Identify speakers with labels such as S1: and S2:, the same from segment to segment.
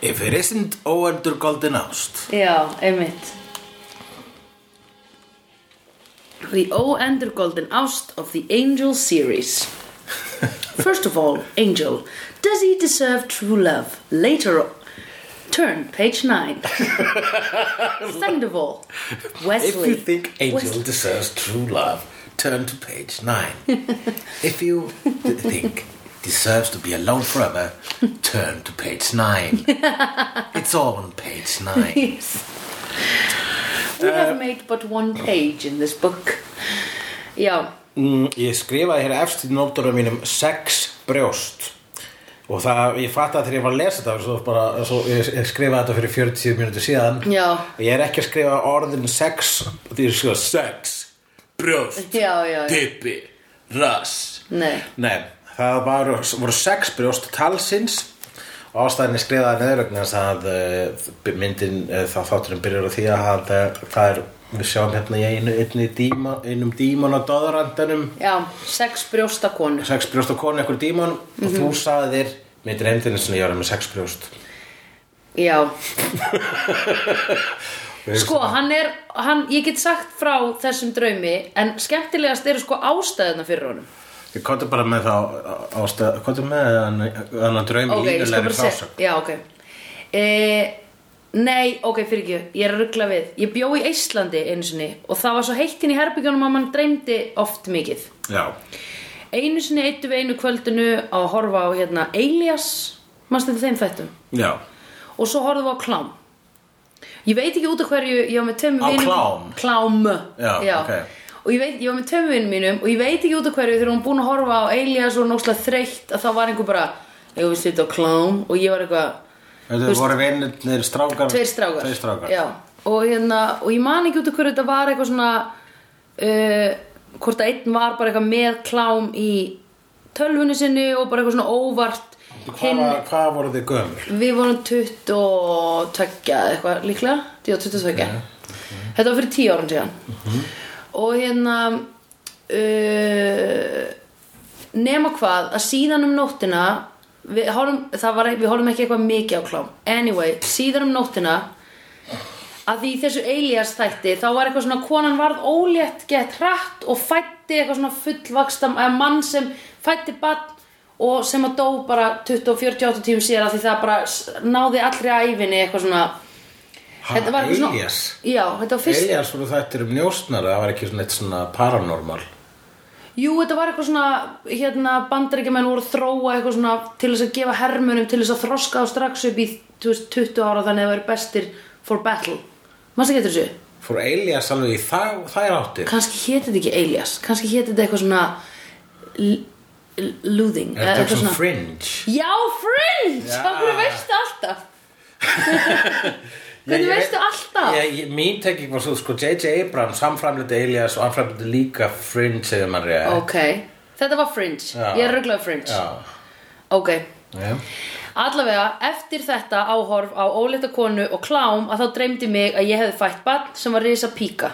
S1: Mér isn't óendur golden ást.
S2: Já, einmitt The O-Ender Golden Oust of the Angel series First of all, Angel Does he deserve true love? Later on Turn, page 9 Second of all,
S1: If
S2: Wesley
S1: you think Angel
S2: Wes-
S1: deserves true love, turn to page 9. if you th- think deserves to be alone forever, turn to page 9. it's all on page 9.
S2: Yes. We have made but one page in this book Já,
S1: Mm, ég skrifaði hér efst í nótunum mínum sex brjóst og það, ég fatt að þegar ég var að lesa þetta svo bara, svo ég, ég skrifaði þetta fyrir 40 mínútur síðan
S2: Já.
S1: og ég er ekki að skrifa orðin sex því ég skrifa sex, brjóst
S2: Já, já, já.
S1: pippi, rass
S2: Nei.
S1: það var, voru sex brjóst talsins og ástæðinni skrifaði neðurögn þess að uh, myndin, uh, þá þátturinn byrjar á því að uh, það er við sjáum hérna í einu, einu díma, einum dímon á doðrandanum
S2: já, sex brjóstakonu
S1: sex brjóst og konu ykkur dímon
S2: Mhm.
S1: og þú sagðir mér dreymdinn eins og ég var með sex brjóst
S2: Já Sko, hann er hann, Ég get sagt frá þessum draumi En skemmtilegast eru sko ástæðuna fyrir honum
S1: ég konti bara með þá ástæð konti með hann hann að draumi
S2: Ok, ég skal
S1: línulegri
S2: bara segja
S1: frásögn
S2: Já, ok e, Nei, ok, fyrir ekki, ég er að ruggla við Ég bjó í Íslandi einu sinni Og það var svo heitt inn í herbyggjunum að mann dreymdi oft mikið
S1: já,
S2: Einu sinni eittu við einu kvöldinu Að horfa á hérna Elias Manstu þetta þeim þættum
S1: já
S2: og svo horfðum við á klám ég veit ekki út af hverju ég var með tveimur
S1: Á
S2: vinum
S1: klám?
S2: klám
S1: Já, ok.
S2: og ég, veit, ég var með tveimur vinum mínum og ég veit ekki út af hverju þegar hún búin að horfa á Elias og nógslega þreytt að það var einhver bara ég var sýtt á klám og ég var eitthvað
S1: þetta
S2: veist-
S1: voru vinnir strákar
S2: tveir strákar,
S1: tveir strákar
S2: Já, og, hérna, og ég man ekki út af hverju þetta var eitthvað svona uh, hvort að einn var bara eitthvað með klám í tölvunni sinni og bara eitthvað svona óvart
S1: hvað, var, hvað voru þið gömur?
S2: Við vorum 22 eða eitthvað líklega, já 22 Þetta var fyrir 10 árum síðan
S1: Mhm.
S2: Og hérna uh, Nema hvað að síðan um nóttina Við horfum, það var, við horfum ekki eitthvað mikið á klám Anyway, síðan um nóttina að því í þessu Elias þætti þá var eitthvað svona konan varð ólétt gett hratt og fætti eitthvað svona fullvakstam eða mann sem fætti bann og sem að dó bara 20-48 tímum síðar af því það bara s- náði allri æfinni eitthvað svona
S1: Ha,
S2: eitthvað
S1: Elias?
S2: Já, þetta var fyrst
S1: Elias voru þættir um njósnara það var ekki svona eitt svona paranormal
S2: Jú, þetta var eitthvað svona hérna, bandaríkjamenn voru að þróa eitthvað svona til þess að gefa hermunum til þess að þroska á strax upp í þú veist, 20 ára þannig að það væri bestir for battle Manstu getur þessu?
S1: fór Elias alveg í það, þær áttir
S2: kannski héti þetta ekki Elias kannski héti þetta eitthvað svona l- l- loothing
S1: er
S2: eða
S1: þetta
S2: eitthvað
S1: svona
S2: svona-
S1: fringe?
S2: já, fringe,
S1: Já.
S2: af hverju veistu alltaf
S1: Ég-
S2: hvernig
S1: ég-
S2: veistu alltaf
S1: ég, ég, mín tekking var svo sko J.J. Abrams, hann framliti Elias og hann framliti líka Fringe eða mann rétt
S2: ok, þetta var fringe
S1: Já.
S2: ég er rugglað fringe
S1: Já.
S2: ok,
S1: Já.
S2: allavega eftir þetta áhorf á óleita konu og klám að þá dreymdi mig að ég hefði fætt barn sem var risa píka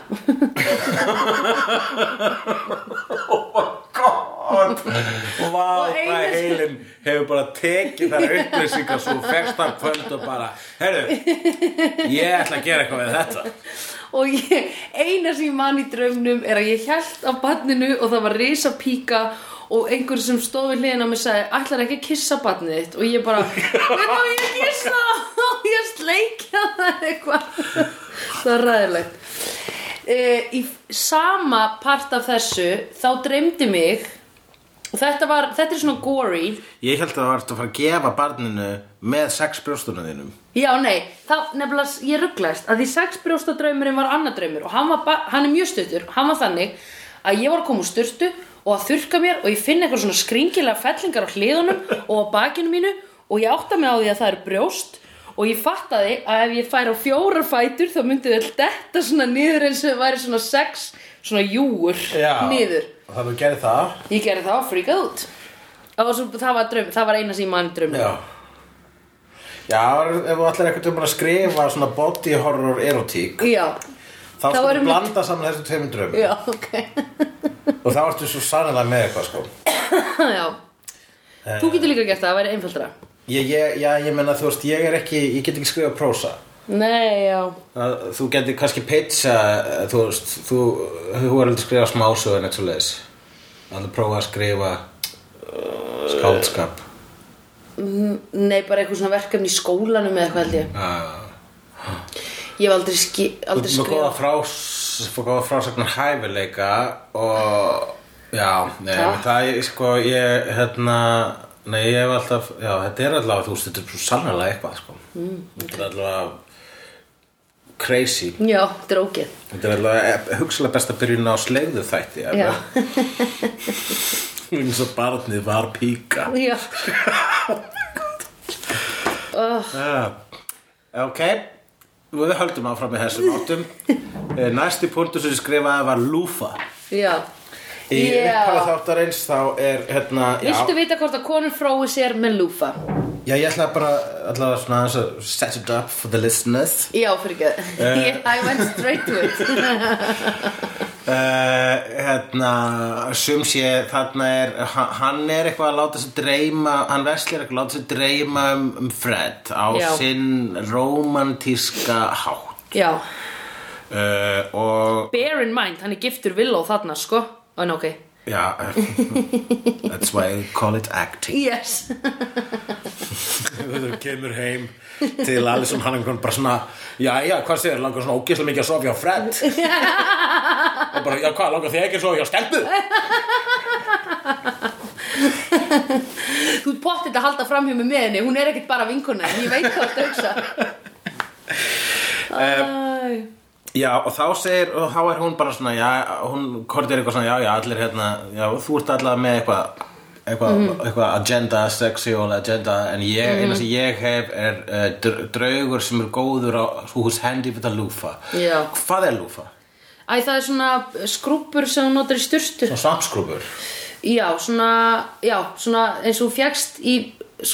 S1: God. Vá,
S2: Og
S1: hvað
S2: Einar-
S1: heilin hefur bara tekið þar upplýsingar svo festar kvöld og bara herru, ég ætla að gera eitthvað við þetta
S2: og ég, eina sem ég man í draumnum er að ég held á barninu og það var risa píka og einhver sem stóð við hliðina á mig sagði ætlar ekki að kissa barnið þitt og ég bara, hvernig á ég að kissa það og ég að sleikja það eitthvað það var ræðilegt uh, í sama part af þessu þá dreymdi mig og þetta var, þetta er svona gory
S1: ég held að það varst að fara að gefa barninu með sex brjóstunum þínum
S2: Já, nei, þá nefnilega ég rugglaðist að því sexbrjóstadraumurinn var annar draumur og hann, var ba- hann er mjög stuttur, hann var þannig að ég var að koma úr sturtu og að þurrka mér og ég finn eitthvað svona skringilega fellingar á hliðunum og á bakinu mínu og ég átta mig á því að það er brjóst og ég fattaði að ef ég færi á fjórar fætur þá myndi þau detta svona niður eins og þau væri svona sex svona júur niður
S1: og það þú gerir það
S2: Ég gerði það og fríkað út Það var, svo, það var, draum, það var eina sem ég mann draumur
S1: Já Já, ef þú ætlar eitthvað um að skrifa svona body horror erotík
S2: Já,
S1: þá
S2: Þá
S1: sko
S2: erum við-
S1: blanda saman þessum tveimur drömmum
S2: já, ok
S1: og þá ertu svo sannlega með eitthvað sko
S2: Já, þú getur líka gert það, það væri einfaldra
S1: ég, ég, já, ég meina þú veist, ég er ekki, ég get ekki skrifað prósa
S2: Nei, já
S1: Það, Þú getur kannski pitcha, eh, þú veist, þú, þú er aldrei skrifað smásögu en eitt svo leiðis Aldrei prófa að skrifa
S2: Uh,
S1: skáldskap
S2: Nei, bara eitthvað svona verkefni í skólanum eða eitthvað held ég
S1: uh,
S2: Ég hef aldrei, ski,
S1: Þú
S2: aldrei
S1: ert með góða,
S2: skrifað
S1: frás, góða frásagnar hæfileika og já, nei,
S2: Takk.
S1: það er sko ég, hérna, nei, ég hef alltaf, já, þetta er allavega, þú veist, þetta er svo sannlega eitthvað, sko. Mm, Þetta er allavega crazy.
S2: Já, þetta er ógeð
S1: Þetta er allavega hugsalega best að byrja inn á slegðu þætti,
S2: Já,
S1: eins og barnið var píka.
S2: já
S1: Ah, ok, við höldum áfram með þessum áttum. Eh, Næsti punktur sem ég skrifaði var lúfa.
S2: Já
S1: Í
S2: Já.
S1: upphafi þáttarins þá er hérna, já,
S2: Viltu vita hvort að konur frói sér með lúfa?
S1: já, ég ætla bara allavega svona aðeins að set it up for the listeners
S2: Já, fyrir
S1: Eh.
S2: ekki I went straight to it
S1: uh, hérna, sum sé þarna er, ha- hann er eitthvað að láta sig dreyma, hann veslir eitthvað að láta sig dreyma um, um Fred á
S2: Já.
S1: sinn romantíska hátt
S2: Já
S1: uh, og
S2: Bear in mind, hann er giftur villó þarna, sko En ok
S1: já, that's why I call it acting
S2: Yes
S1: þú kemur heim til Alison Hanningon bara svona jæja, hvað séður, langar svona ógislega mikið að sofa hjá Fred og bara, já hvað, langar þig ekki að sofa hjá stelpu
S2: Þú ert pottitt að halda framhjum með henni Hún er ekkert bara vinkona en Ég veit hvað það hugsa
S1: Eh,
S2: Æ.
S1: já, og þá segir, og þá er hún bara svona já, hún kortir eitthvað svona, já, já, allir hérna já, þú ert allavega með eitthvað eitthvað
S2: Mhm.
S1: eitthvað agenda, sexual agenda en ég, eina sem ég hef er uh, dr- draugur sem er góður á hús hendi við að lúfa
S2: Já.
S1: hvað er lúfa?
S2: Æ, það er svona skrúpur sem hún notar í styrstu
S1: Svona svampskrúfur
S2: Já, svona, já, svona eins og fjækst í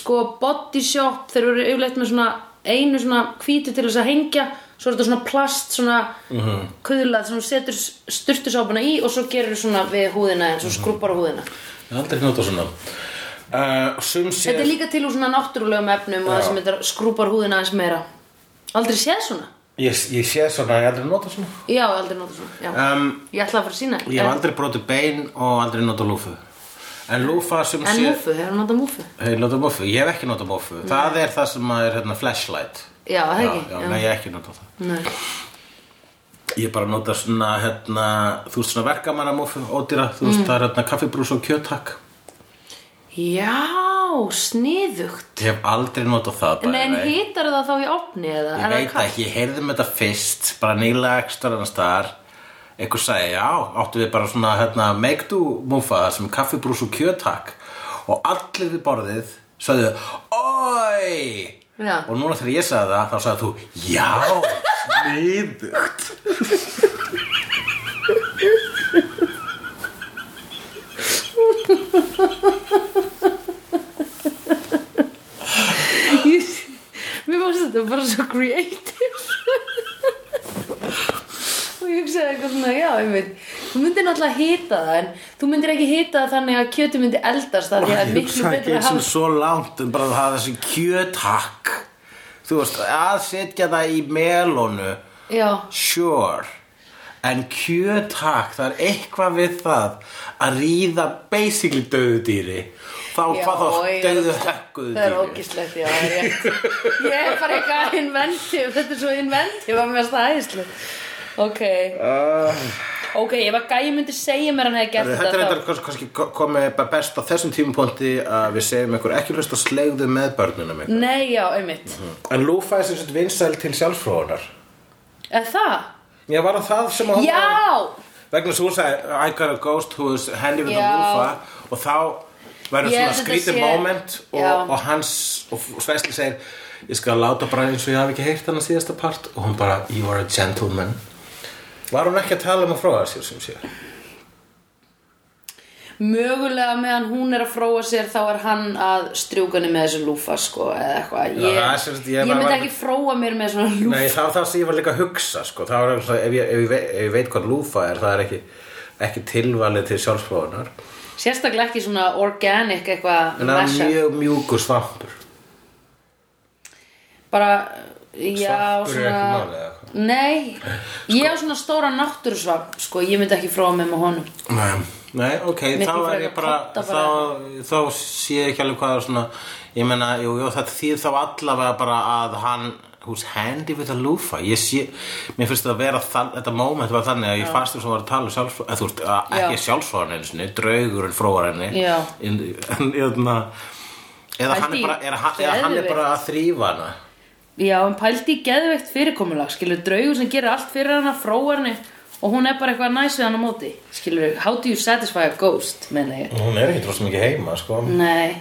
S2: sko body shop þeir eru yfirleitt með svona einu svona hvítu til þess að hengja svo er þetta svona plast svona
S1: Uh-huh.
S2: kuðlað sem þú setur styrtusápuna í og svo gerir svona við húðina eins og
S1: Uh-huh.
S2: skrúpar á húðina
S1: ég hef aldrei nota svona uh, sum sé
S2: Þetta er líka til úr svona náttúrulegum efnum og
S1: Já.
S2: það sem þetta skrúpar húðina aðeins meira Aldrei séð svona?
S1: Ég, ég sé svona, ég hef aldrei notað svona
S2: Já, ég hef aldrei notað svona já.
S1: um,
S2: Ég ætla að fara að sína
S1: Ég hef aldrei brotið bein og aldrei notað lúfu En lúfa sem
S2: En
S1: sé
S2: múfu, hefur notað múfu?
S1: Hei, notað múfu, ég hef ekki notað múfu Það er það sem er hérna flashlight
S2: Já, það
S1: Já,
S2: ekki
S1: já, nei, ég hef ekki notað það
S2: Nei.
S1: Ég hef bara notað svona, hérna, þú veist svona verkamanna múfu, ódýra Þú
S2: Mm.
S1: veist, það er hérna kaffibrús og kjötakk
S2: já sniðugt
S1: Ég hef aldrei notað það
S2: Nei,
S1: bara
S2: en hýtar það þá í opni eða?
S1: Ég
S2: Er það
S1: veit
S2: kalt?
S1: ekki, ég heyrði um þetta fyrst bara nýlega ekstra annars staðar einhver sagði, já, áttu við bara svona hérna, make do múfa sem er kaffibrús og kjötak og allir við borðið sagði, oi
S2: Já.
S1: og núna þegar ég sagði það, þá sagði þú já, sniðugt
S2: Mér fannst þetta bara svo creative Og ég hugsaði eitthvað svona, já, ég veit Þú myndir náttúrulega hýta það En þú myndir ekki hýta það þannig að kjötu myndi eldast Það því að það er miklu
S1: hugsaði
S2: betra
S1: ekki
S2: að
S1: eins og
S2: hafa
S1: svo langt en bara að hafa þessi kjötak þú veist, að setja það í melónu
S2: Já,
S1: Sure En kjötak, það er eitthvað við það að ríða basically döðu dýri þá
S2: Já,
S1: hvað þá
S2: ég-
S1: döðu hökkuðu
S2: það er
S1: dýri
S2: ógislegt, já, það er rétt Ég er bara eitthvað inventive Þetta er svo inventive að mér það æðislegt Ok Ok, ef að gæi myndi segja mér að hann hefði gert
S1: Ah, Þetta er
S2: þetta
S1: eitthvað kannski komið bara best á þessum tímapunkti að við segjum ykkur ekki hlust að slegðu með börnunum ykkur.
S2: Nei, já, einmitt
S1: En Lúfa er sem sagt vinsæl til sjálfsfróðunar
S2: Er það?
S1: Já, var það það sem að hún
S2: Já,
S1: vegna svo hún sagði I got a ghost who's handy with a
S2: Já.
S1: lúfa og þá
S2: Ég
S1: verður svona
S2: held þetta
S1: skrítið
S2: sé-
S1: moment og,
S2: Já.
S1: og hans og Svæsli segir ég skal láta bara eins og ég hafi ekki heyrt hann að síðasta part og hún bara you are a gentleman var hún ekki að tala um að fróða sér sem sé
S2: mögulega meðan hún er að fróa sér þá er hann að strjúka henni með þessu lúfa sko eða eitthvað ég,
S1: það er sem sagt- ég
S2: ég
S1: bara
S2: myndi
S1: var-
S2: ekki fróa mér með svona lúfa
S1: Nei, það var það sem ég var líka að hugsa sko. það var alveg, ef, ég, ef, ég, ve- ef ég veit hvað lúfa er það er ekki, ekki tilvalið til sjálfsfróðunar
S2: sérstaklega ekki svona organic eitthvað
S1: en það er
S2: mashup.
S1: mjög mjúkur svampur
S2: bara já,
S1: Svampur er
S2: svona
S1: ekki málið, eða hvað?
S2: Nei, ég á svona stóra náttúrusvamp sko, ég myndi ekki fróa mig með honum
S1: Nei, nei ok,
S2: Miklu
S1: þá er ég
S2: frekar
S1: bara,
S2: kodda bara.
S1: Þá, þá sé ég ekki alveg hvað er svona Ég meina, jú, jú, það þýð þá allavega bara að hann Who's handy with a loofah Ég sé, mér finnst það að vera þann, þetta moment var þannig að ég fannst þess að var að tala um sjálfsfróð Þú veist, að-
S2: Já.
S1: ekki sjálfsfróðan einu sinni, draugurinn fróðar henni
S2: Já.
S1: En, en, hérna Eða hann
S2: Pældi
S1: er
S2: í-
S1: bara, er, hann- eða hann er bara að þrýfa hana
S2: Já, en pældi í geðveikt fyrirkomulag skilur, draugur sem gerir allt fyrir hana, fróar henni og hún er bara eitthvað næs við hann á móti skilur, how do you satisfy a ghost menna ég,
S1: Hún er ekki rosa mikið heima, sko
S2: nei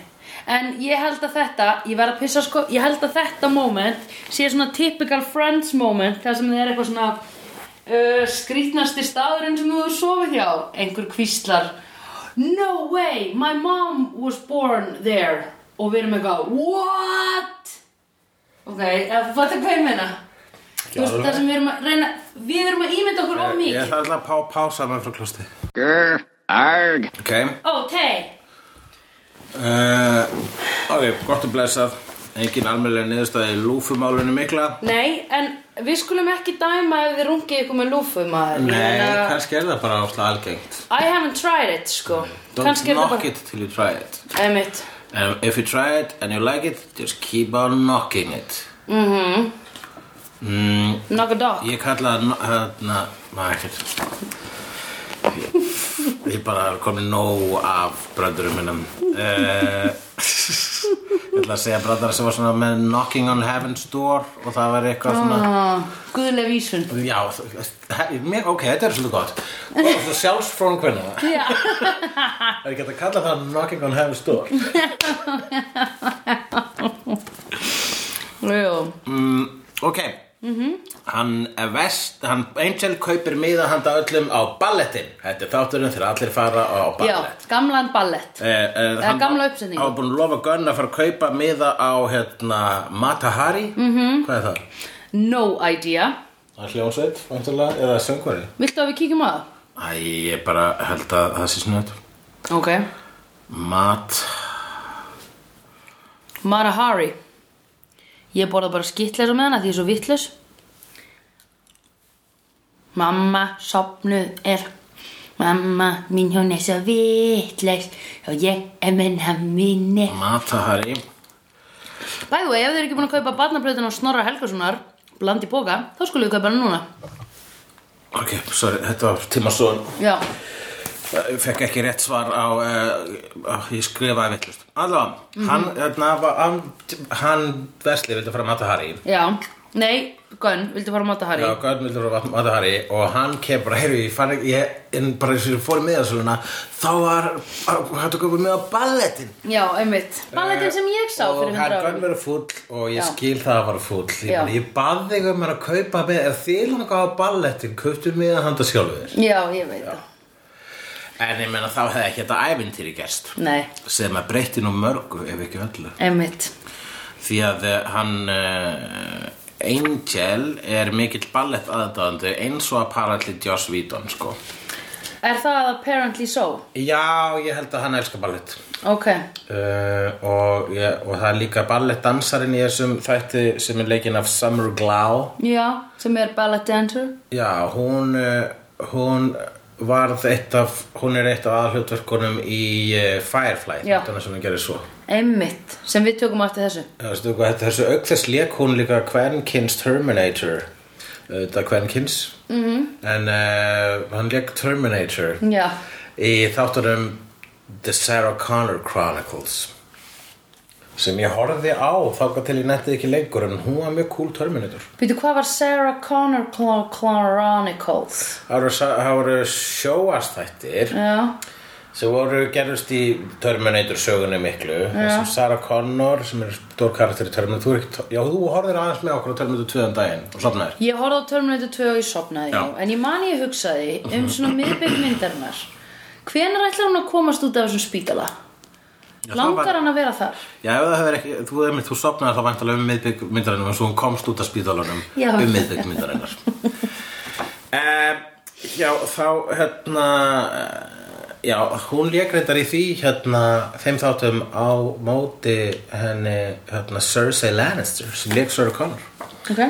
S2: en ég held að þetta, ég var að pissa sko ég held að þetta moment sé svona typical friends moment þar sem það er eitthvað svona uh, skrýtnasti staðurinn sem þú hefur sofið hjá einhver kvíslar no way, my mom was born there og við erum eitthvað, what ok, eða þú fattar hvað ég meina þú veist
S1: alveg.
S2: það sem við erum að reyna við erum að ímynda okkur of
S1: Ég
S2: mikið
S1: ætla alltaf að pá, pása með frá klústi
S3: Grr, arg.
S1: Ok,
S2: ok,
S1: Uh, ok, gott og blessað Engin almennlega niðurstaði í lúfumálunum mikla
S2: nei, en við skulum ekki dæma ef þið rungið ykkur með lúfu maður
S1: Nei,
S2: Ég meina,
S1: eh, kannski er það bara ásla algengt
S2: I haven't tried it sko
S1: Don't
S2: kannski er
S1: knock
S2: það bara,
S1: it till you try it
S2: emitt
S1: And if you try it and you like it, just keep on knocking it
S2: Mm-hmm.
S1: mm,
S2: knock a dog
S1: Ég kalla það, kn- hérna, maður ekkert Ég er bara komið nóg af bröndurum minnum uh, Ég ætla að segja bröndara sem var svona með knocking on heaven's door Og það var eitthvað svona
S2: Ah, guðleg vísun
S1: Já, þ- he- mér, ok, þetta er svolítið gott Og þú sjálfst frón hvernig það
S2: já
S1: Er ekki hægt að kalla það knocking on heaven's door
S2: Jú.
S1: mm, Ok Hann eh, vest, hann Angel kaupir miða handa öllum á ballettin Þetta er þátturinn þegar allir fara á
S2: Já,
S1: ballett
S2: gamlan ballett
S1: Eh, eh,
S2: Eða
S1: hann
S2: gamla uppsetningu.
S1: Hann var búin að lofa Gunn að fara að kaupa miða á hérna, Matahari
S2: Mhm.
S1: -hmm. Hvað er það?
S2: No idea
S1: Það er hljónsveit, vantulega, eða söngvari
S2: Viltu að við kíkjum að það?
S1: Æ, ég bara held að það sé snöð
S2: Ok
S1: Mat
S2: Marahari Ég borða bara skittlesa með hana því ég er svo vittles Mamma sopnuð er Mamma mín hún er svo vittles Og ég er menna minni
S1: Matahari
S2: By the way, ef þið eru ekki búin að kaupa barnaplöðin á Snorra Helgasonar Bland í boka, þá skulum við kaupa hana núna
S1: Ok, sorry, þetta var tíma svo
S2: Já,
S1: Ég fekk ekki rétt svar á, uh, ég skrifaði vittlust. Allavega,
S2: Mhm.
S1: hann, hérna, var- hann, hann Vesli vildi fara að mata Harry.
S2: já Nei, Gunn, viltu fara að mata Harry?
S1: Já, Gönn vildi fara að mata Harry og hann kemur bara, heyrðu, ég fann ekki, ég, en bara eins og ég fór í miðasöluna, þá var, hættu að koma með á ballettin.
S2: Já, einmitt Balletin sem ég sá fyrir
S1: Og hann
S2: 100 árum
S1: Gönn verið fúll og ég
S2: Já.
S1: skil það að vara fúll. Ég,
S2: Já.
S1: bara, ég bað þig um að kaupa með, ef þið langa á ballettin, kauptu með að handa sjálfu þér.
S2: Já, ég veit það.
S1: En ég meina, þá hefði ekki þetta ævintýri gerst.
S2: Nei,
S1: Sem að breytti nú mörgu, ef ekki öllu.
S2: einmitt.
S1: því að eh, hann uh, Angel er mikill ballett aðdáðandi eins og að paralli Joss Whedon sko.
S2: Er það apparently so?
S1: Já, ég held að hann elskar ballett
S2: Ok,
S1: uh, og, ég, og það er líka ballettdansarinn í þessum þætti sem er leikinn af Summer Glau
S2: já, sem er ballet dancer.
S1: Já, hún, eh, hún varð eitt af, hún er eitt af aðhlutverkunum í eh, Firefly
S2: Já.
S1: þáttunum sem hún gerir svo
S2: Einmitt, sem við tökum eftir þessu.
S1: Já, veistu hvað, þetta- Þessu auk þess leik hún líka Kvenkins Terminator Þetta Kvenkins mm -hmm. En uh, hann leik Terminator
S2: Já,
S1: Í þáttunum The Sarah Connor Chronicles Sem ég horfði á Þáka til ég nettið ekki lengur En hún var mjög cool Terminator
S2: býtu hvað var Sarah Connor Cla- Chronicles?
S1: Það voru, það voru sjóastættir
S2: Já,
S1: sem voru gerðust í Terminator sögunni miklu þessum Sarah Connor sem er stór karakter í Terminator þú er ekki, já þú horfðir aðeins með okkur á Terminator 2 um daginn og sopnaðir
S2: ég horfði á Terminator 2 og ég sopnaði, já.
S1: Já.
S2: En ég man ég hugsaði um svona miðbygg myndarinnar. Hvenær ætlar hún að komast út af þessum spítala?
S1: Já, það
S2: Langar
S1: var-
S2: hann að vera þar?
S1: Já, ef það hefur ekki, þú, einmitt, þú sopnaði þá væntalega um miðbygg myndarinnum en svo hún komst út af spítalunum
S2: Já.
S1: um miðbygg myndarinnar um, Já, þá hérna eh, já, hún lék reyndar í því hérna, þeim þáttum á móti henni hérna, Cersei Lannister sem lék Sarah Connor
S2: Ok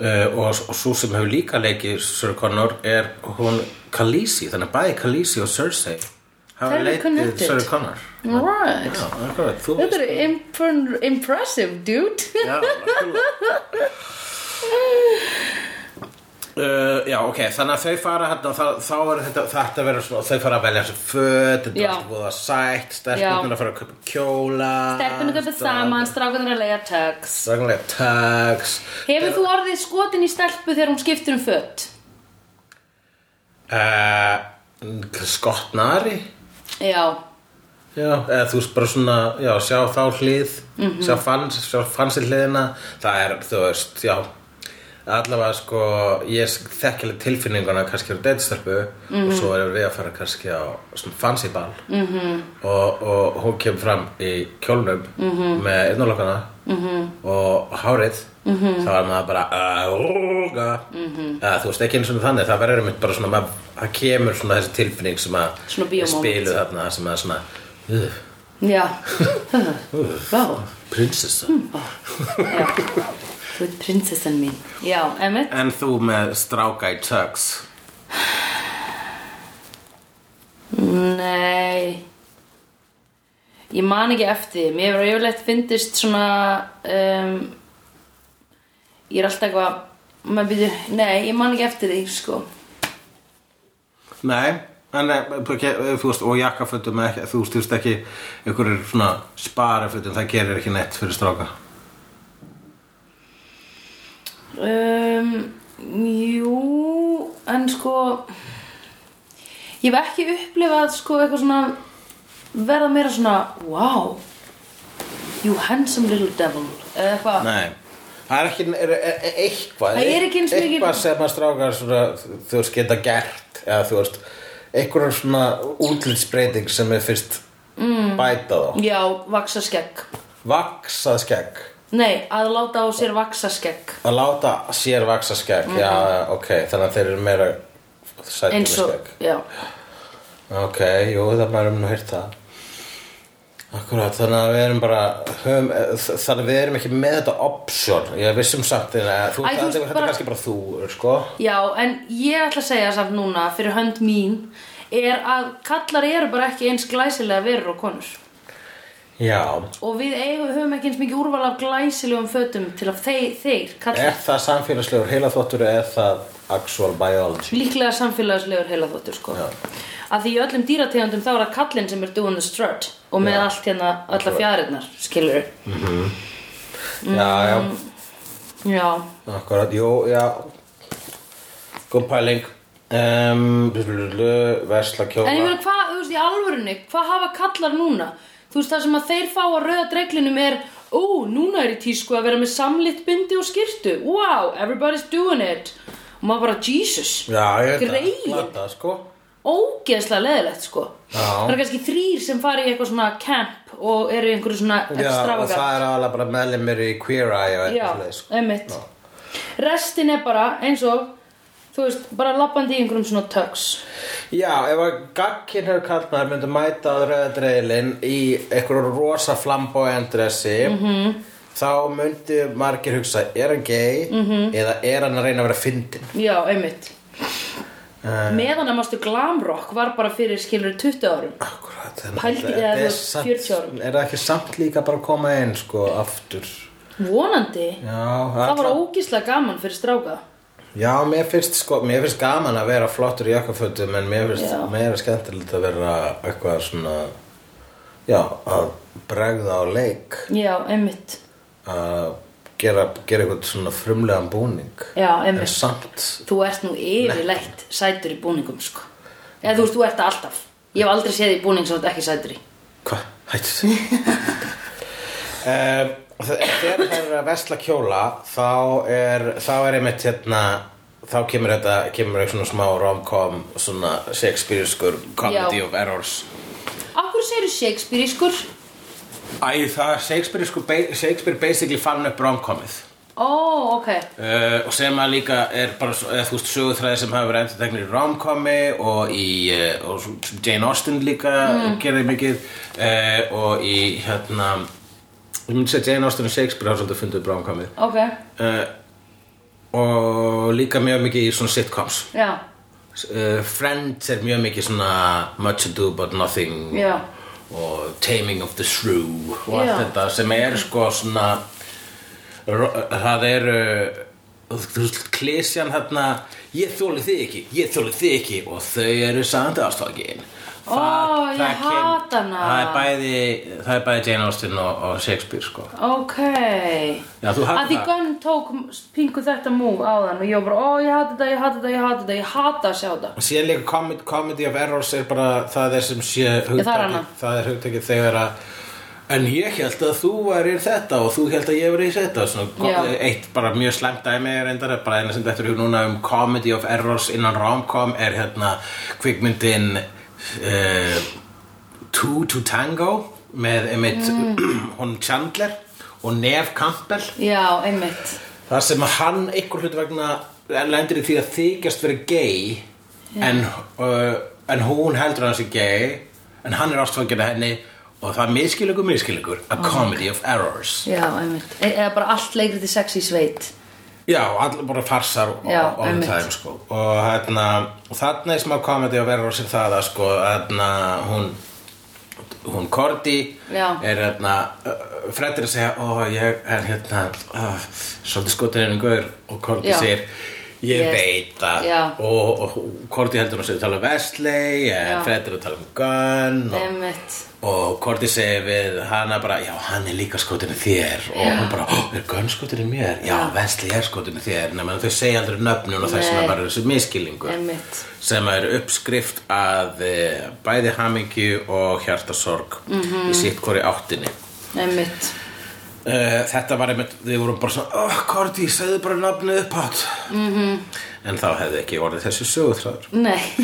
S1: Uh, og, og svo sem hefur líka leikið Sir Connor er hún Khaleesi, þannig að bæði Khaleesi og Cersei hafa
S2: They're
S1: leikið
S2: connected.
S1: Sir Connor
S2: Right
S1: Já, akkurat, þú
S2: Þetta
S1: veist
S2: er impr impressive, dude
S1: Já, akkurat Uh, já, ok, þannig að þau fara hérna, þá, þá er þetta, þetta verður svona þau fara að velja sér föt, þetta
S2: Já.
S1: er allt góða sætt
S2: Já.
S1: stelpunir að fara að kaupa kjóla
S2: Stelpunni köpa saman, strákunir að lega tux
S1: Sannlega tags
S2: Hefur þú orðið skotin í stelpu þegar hún skiptir um fött?
S1: uh, Skotnari
S2: Já
S1: Já, eða þú veist bara svona, já, sjá þá hlið, sjá fanns, sjá fannsir hliðina, það er, þú veist, já, allavega sko, ég þekkileg tilfinninguna kannski á deitstörpu og svo erum við að fara kannski á svona fannsir ball -hmm. og, og hún kemur fram í kjólnum -hmm. með einnalokkana -hmm. og hárið, -hmm. þá er maður bara, aðrúga, -hmm. eða þú veist, ekki eins og þannig, það verður einmitt bara svona, maður, það kemur svona þessi tilfinning sem að
S2: Svona bíómoment.
S1: spilu þarna sem er svona uh,
S2: Já Vá
S1: prinsessa
S2: Já. Þú ert prinsessan mín Já, emmitt
S1: en þú með stráka í tux
S2: Nei Ég man ekki eftir því. Mér hefur yfirleitt fyndist svona um, Ég er alltaf eitthvað maður byrju, Nei, ég man ekki eftir því sko.
S1: nei en eh, þú ekki- þú veist og jakkafötum ekki, þú veist, þú veist ekki einhverjir svona sparafötum það gerir ekki neitt fyrir stráka
S2: um, Jú En sko Ég hef ekki upplifað sko eitthvað svona verða meira svona Wow You handsome little devil eða eitthvað
S1: nei það er ekki er, er, er, eitthvað
S2: Það er ekki eins og ekki-
S1: eitthvað sem að strákar svona, þú veist geta gert eða þú veist einhverjum svona útlitsbreyting sem er fyrst
S2: Hmm.
S1: mm. bæta þá
S2: Já, vaksa skegg
S1: vaksað skegg
S2: Nei, að láta á sér vaksa skegg
S1: Að láta sér vaksa skegg, já, ok, þannig að þeir eru meira sættir með
S2: Mhm. eins og,
S1: skegg.
S2: já
S1: Ok, jú, það maður um að hýrta það. Akkurat, þannig að við erum bara, höfum, eh, þ- þannig að við erum ekki með þetta option, ég vissum samt þinn að þú,
S2: Æ, þú
S1: þetta,
S2: veist
S1: þetta
S2: bara-
S1: er kannski bara þú, sko.
S2: Já, en ég ætla að segja samt núna fyrir hönd mín er að kallar eru bara ekki eins glæsilega verur og konur
S1: Já,
S2: og við eigum, höfum ekki eins mikið úrval af glæsilegum fötum til að þeir, þeir kallar
S1: er það samfélagslegur heilaþvottur eða er það actual biology?
S2: líklega samfélagslegur heila þóttur sko
S1: Já.
S2: að því í öllum dýrategundum þá er það kallinn sem er doing the strut og með
S1: Já.
S2: allt hérna, alla fjarinnar skilur Mm.
S1: Já, já,
S2: Já,
S1: akkurat, jú, já, góð pæling, um, versla kjóla.
S2: En ég meina hvað, þú veist, í alvörunni, hvað hafa kallar núna? Þú veist, það sem að þeir fá að rauða dreglinum er Ó, núna er í tísku að vera með samlitt bindi og skyrtu Wow, everybody's doing it Og maður bara, Jesus
S1: Já, ég veit
S2: Greyin.
S1: það, glata, sko
S2: Ógeðslega leðilegt, sko
S1: Já.
S2: Það er kannski þrýr sem fara í eitthvað svona camp Og eru í einhverju svona
S1: Já, og
S2: extravagant
S1: það er alveg bara meðlumir í Queer Eye og
S2: Já,
S1: eitthvað sko.
S2: einmitt Restin er bara, eins og Þú veist, bara labbandi í einhverjum svona tux
S1: Já, ef að gagginn hefur kallnaður myndi mæta á rauðadreilin í einhverju rosa flamboyandressi -hmm.
S2: Mhm.
S1: þá myndi margir hugsa er hann gay
S2: Mhm.
S1: -hmm. eða er hann að reyna að vera fyndin
S2: Já, einmitt
S1: Eh.
S2: Meðan að mástu glamrock var bara fyrir skilur 20 árum
S1: Akkurat, þannig
S2: Pældi-
S1: að
S2: eða
S1: þetta
S2: þú
S1: er
S2: veist,
S1: samt-
S2: 40 árum.
S1: Er það ekki samt líka bara að koma inn sko aftur
S2: Vonandi
S1: Já,
S2: Það var
S1: alla-
S2: ógíslega gaman fyrir stráka
S1: Já, mér finnst, sko, mér finnst gaman að vera flottur í jakkafötum en mér finnst
S2: Já.
S1: meira skemmtilegt að vera eitthvað svona já, að bregða á leik
S2: Já, einmitt
S1: að gera, gera eitthvað svona frumlegan búning
S2: Já, einmitt.
S1: en samt
S2: Þú ert nú yfirleitt sætur í búningum sko Eða þú veist, þú ert það alltaf Ég hef aldrei séð í búning sem þú ert ekki sætur í
S1: Hvað? Hættu því um, Þegar það er að vesla kjóla þá er, þá er einmitt hérna þá kemur þetta, kemur eitthvað svona smá rom-com svona Shakespeare-skur comedy
S2: Já.
S1: of errors
S2: Akkur segirðu Shakespeare í skur
S1: Æ, það Shakespeare, sko, ba- Shakespeare basically fann upp romkomið
S2: Ó, ok
S1: Uh, og sem að líka er bara svo- eða, þú veist sögutræði sem hafa verið endurtegnir í romcomi og í uh, og svo- sem Jane Austen líka gerði mikið uh, og í hérna ég myndi segja Jane Austen og Shakespeare hafa svolítið fundið upp romcomið
S2: Ok,
S1: uh, og líka mjög mikið í svona sitcoms
S2: já,
S1: uh, Friends er mjög mikið svona Much Ado But Nothing
S2: Já.
S1: og Taming of the Shrew og allt
S2: Já.
S1: þetta sem er sko svona ro- það eru þú veist, klísjan hérna ég þóli þig ekki, ég þóli þig ekki og þau eru samt ástokin
S2: Ó, ég hata hana.
S1: það er bæði, það er bæði Jane Austen og, og Shakespeare sko
S2: ok
S1: Já, þú hatar
S2: Að því
S1: það.
S2: Gunn tók pingu þetta múf áðan og ég var bara, ó, ég hata þetta, ég hata þetta, ég hata þetta, ég hata að sjá þetta
S1: og síðan líka comedy, comedy of errors er bara það er sem sé hugtakið
S2: annað.
S1: það er hugtakið þegar að en ég held að þú værir þetta og þú held að ég væri þetta Svona,
S2: Já.
S1: kom- eitt bara mjög slæmt dæmi er reyndar er bara eina sem þetta er núna um comedy of errors innan romcom er hérna kvikmyndin uh, Two to Tango með einmitt hún Chandler og Neve Campbell
S2: Já, einmitt
S1: Það sem að hann einhver hlut vegna lendir í því að þykjast verið gay en, uh, en hún heldur að hann sé gay en hann er ástfangin að henni og það er miskilugur miskilugur a comedy of errors
S2: Já, einmitt, e eða bara allt leikrið í sex í sveit
S1: Já, allir bara farsar og,
S2: Já,
S1: og, og
S2: einmitt.
S1: það sko. og hérna, og þarna er smá komedi að vera sér það að sko, hérna, hún hún Korti
S2: Já.
S1: er hérna Freddir að segja, ó, ég er hérna uh, svolítið skotin ennum gaur og Korti
S2: Já.
S1: segir ég
S2: Ég-
S1: veit það
S2: Já.
S1: og, og, og Korti heldur hún að segja tala um Vestley
S2: Já.
S1: en Freddir að tala um Gunn og,
S2: Einmitt
S1: og Korti segir við hana bara, já hann er líka skotinu þér og hún bara, ó, er Gunn skotinu mér? Já,
S2: Já.
S1: Vesli er skotinu þér nema þau segja aldrei nöfnun
S2: Nei.
S1: og þess vegna bara þessu miskilingu
S2: Einmitt.
S1: sem er uppskrift að eh, bæði hamingju og hjartasorg
S2: Mhm.
S1: í sitt hvori áttinni
S2: Einmitt
S1: Uh, þetta var einmitt, við vorum bara svona oh, Korti, segðu bara nafnið upphátt mm -hmm.
S2: Mhm.
S1: en þá hefði ekki orðið þessi sögutræður
S2: Nei,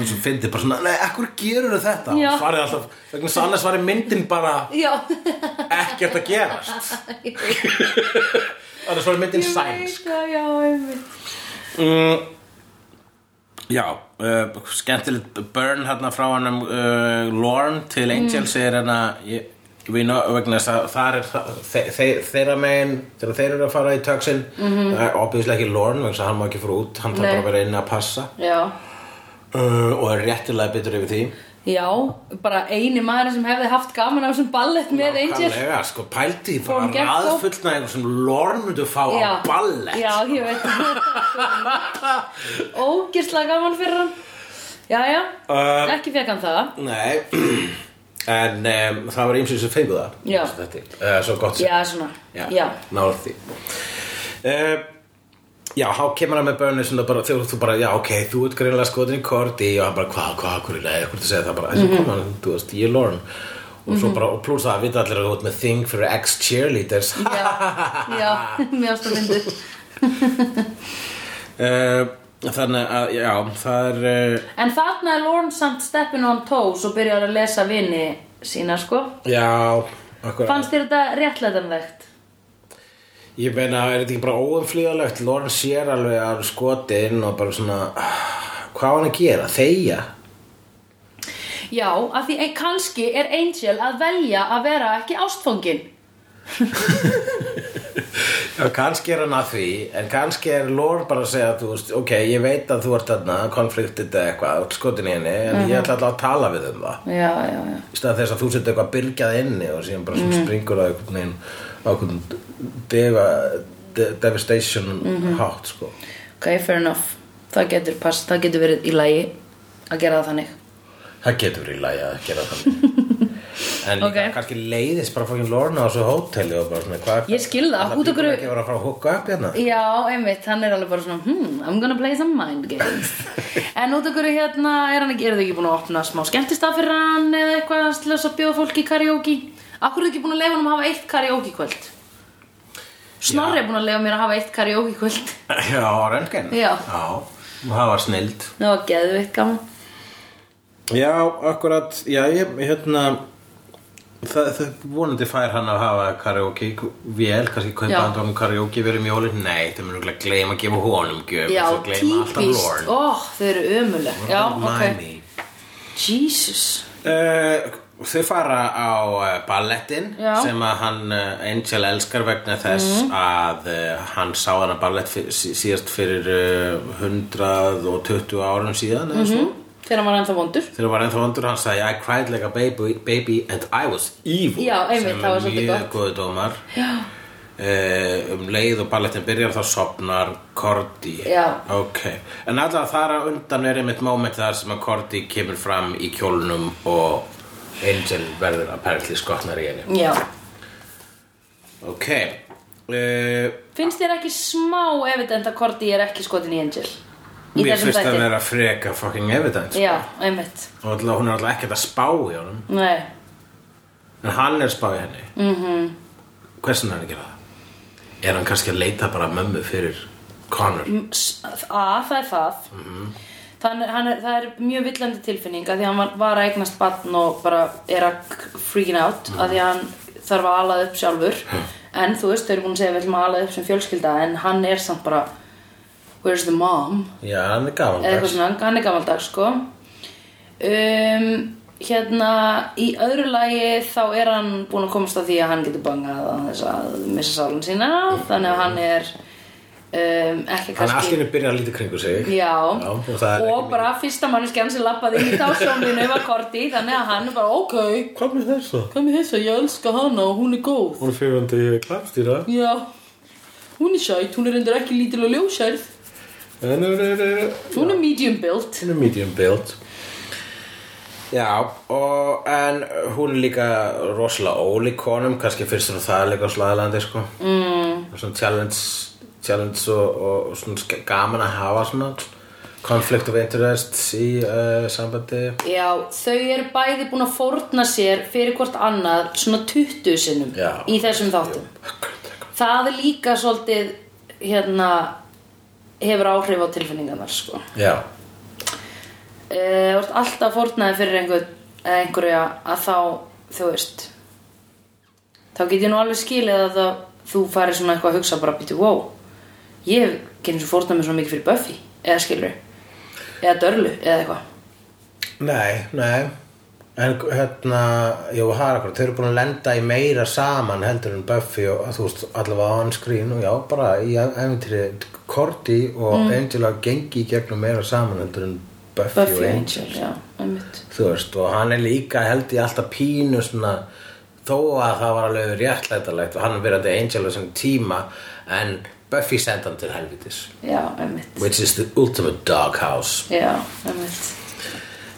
S1: og svo fyndi bara svona, nei, ekkur gerur þetta
S2: Já.
S1: og svarið alltaf, vegna þess að annars var myndin bara
S2: já
S1: ekkert að gerast annars var myndin
S2: Ég
S1: sænsk
S2: veit það, Já, einmitt
S1: já, uh, skemmtilegt burn hérna frá hann um uh, Lorne
S2: Mm.
S1: til Angels er hérna ég- við ná, vegna þess að þar er það- þe þe þeirra megin, þegar þeir eru að fara í töksin það er obviðslega ekki Lorne vegna þess að hann má ekki fara út, hann
S2: Mhm.
S1: þarf
S2: Nei.
S1: bara að vera inn að passa
S2: Já
S1: uh, og er réttilega bitur yfir því
S2: Já, bara eini maður sem hefði haft gaman á þessum ballett með Angel
S1: Nákvæmlega, sko, pældi því
S2: Fórum
S1: bara
S2: gegn þó.
S1: raðfullna eitthvað sem Lorne myndi fá á
S2: Já.
S1: ballett
S2: Já, ég veit Ógislega gaman fyrir hann Jæja,
S1: Um,
S2: ekki fekk hann það
S1: Nei En um, það var ýmsið sem fengu það
S2: Já.
S1: Þetta er uh, svo gott sem
S2: Já, svona, já
S1: Náður því uh, Já, há kemur hann með börni svona bara, þegar þú bara, já, ok, þú ert greinlega skotin í korti og hann bara, hvað, hvað, hvað, nei, hvað þú segir það bara, þessi
S2: Mhm.
S1: mm hann, þú veist, ég er Lorne og svo bara, og pluss það að vita allir að þú ert með þing fyrir ex-cheerleaders
S2: Já, já, mjög ástu myndu
S1: uh, Þannig að, já, það er uh,
S2: En þarna er Lorne samt steppin on toes og byrjar að lesa vini sína, sko
S1: Já, akkurat
S2: Fannst þér þetta réttlætanlegt?
S1: Ég meina, er þetta ekki bara óumflýðalegt? Lorne sér alveg að skotin og bara svona, ah, hvað á hann að gera? Þeia?
S2: Já, af því ein, kannski er Angel að velja að vera ekki ástfóngin
S1: Já, kannski er hann að því, en kannski er Lorne bara að segja, þú veist, ok, ég veit að þú ert þarna, konfliktið eða eitthvað, þú ert skotin í henni, en ég ætla alltaf að tala við um það.
S2: Já, já, já
S1: Í stað þess að þú setur eitthvað byrgjað inni og síðan bara svona springur á einhvern veginn, á einhvern deva, de devastation hátt, sko.
S2: Ok, fair enough Það getur, pass, það getur verið í lagi að gera það þannig
S1: Það getur verið í lagi að gera þannig En líka,
S2: Ok.
S1: kannski leiðist bara fókin Lorna á þessu hóteli og bara svona hvað
S2: Ég skil það, út af
S1: Það
S2: hverju-
S1: býtur ekki að vera að fara að húka upp hérna
S2: Já, einmitt, hann er alveg bara svona hmm, I'm gonna play some mind games En út af hverju hérna, er hann ekki, er þið ekki búin að opna smá skemmtistað fyrir hann eða eitthvað til þess að bjóða fólki í karaoke Akkur er ekki búin að leifa hann um að hafa eitt karaoke kvöld Snorri er búin að leifa mér að hafa eitt karaoke kvöld
S1: Já, röntgen
S2: Já.
S1: og það var snild
S2: Það var geðvitt gaman
S1: Já, akkurat, já, ég, hérna það, það vonandi fær hann að hafa karaoke vél, kannski kaupa
S2: Já.
S1: hann um karaoke verið mjóli, nei, það mun ekki gleyma að gefa honum gjöf,
S2: Já,
S1: þau gleyma alltaf
S2: típist,
S1: Lorne.
S2: ó, þau eru ömuleg Já, ok,
S1: Mæmi.
S2: Jesus
S1: Uh, þau fara á uh, ballettin
S2: Já.
S1: sem að hann uh, Angel elskar vegna þess að uh, hann sá hann að ballett fyr, sí- síðast fyrir uh, 120 árum síðan eða svo
S2: Þegar hann var ennþá vondur
S1: þegar hann var ennþá vandur hann sagði I cried like a baby, baby and I was evil
S2: Já, einmitt, það
S1: sem
S2: var
S1: er
S2: svolítið
S1: mjög
S2: gott.
S1: góðu dómar Eh, um leið og ballettin byrjar þá sopnar Korti
S2: Já.
S1: ok, en alltaf þar að undan er einmitt moment þar sem að Korti kemur fram í kjólnum og Angel verður að perli skotnar í henni
S2: Já,
S1: ok uh,
S2: finnst þér ekki smá evident að Korti er ekki skotin í Angel? Í
S1: mér
S2: þessum
S1: finnst að
S2: þætti?
S1: vera freka fucking evident
S2: Já, einmitt
S1: og alltaf, hún er alltaf ekkert að spá í honum
S2: Nei,
S1: En hann er spáði henni mm
S2: Mhm.
S1: -hmm. Hversin hann að gera það? Er hann kannski að leita bara að mömmu fyrir Connor?
S2: S- A, það er það Þannig, hann er, það er mjög villandi tilfinning að því að hann var, var að eignast batn og bara er að k- freaking out að því að hann þarf að alað upp sjálfur en þú veist, þau eru búin að segja við ætlum að alað upp sem fjölskylda en hann er samt bara where's the mom
S1: Já, hann er
S2: eða eitthvað
S1: gaman
S2: svona, hann er gammaldags sko um, hérna í öðru lagi þá er hann búin að komast að því að hann getur bangað að þess að missa sálun sína þannig að hann er um, ekki
S1: Mm. Hann er
S2: kannski
S1: allt í henni byrjað að líta kringu sig
S2: Já,
S1: Já, og það er
S2: og
S1: ekki
S2: bara fyrsta manneskjan sem lappaði í þá sjónlinu var Korti þannig að hann er bara ok,
S1: Hvað með þess það?
S2: hvað með þess að ég elska hana og hún er góð
S1: Hún er fyrrandi klapstýra
S2: Já, hún er sætt, hún er endur ekki lítil og ljósærð
S1: En hún er, er,
S2: Hún er medium build
S1: hún er medium build Já, og en hún er líka rosalega ólík honum kannski fyrst og það er líka slæðalandi sko mm. Svona challenge, challenge og, og, og svona ske- gaman að hafa svona conflict of interest í uh, sambandi
S2: Já, þau eru bæði búin að fórna sér fyrir hvort annað svona 20 sinnum
S1: Já.
S2: í þessum þáttum Það er líka svolítið hérna hefur áhrif á tilfinningarnar sko
S1: Já,
S2: uh, vart alltaf fórnaði fyrir einhver, eða einhverja að þá þú veist þá get ég nú alveg skilið að það, þú farir svona eitthvað að hugsa bara býtu wow, ég hef genið svo fórnaði mér svona mikið fyrir Buffy eða skilur eða Dörlu eða eitthvað
S1: nei, nei En hérna, jú, það er akkur, þau eru búin að lenda í meira saman heldur en Buffy og þú veist, allavega on screen og já, bara í æfintýri Korti og Angela gengi í gegnum meira saman heldur en Mm. Buffy,
S2: Buffy
S1: og
S2: og
S1: Angel.
S2: Angel, já, einmitt
S1: Þú veist, og hann er líka held í alltaf pínu svona, þó að það var alveg réttlætalegt og hann er verandi Angel á þessum tíma en Buffy senda hann til helvitis,
S2: já, einmitt
S1: which is the ultimate doghouse.
S2: já, einmitt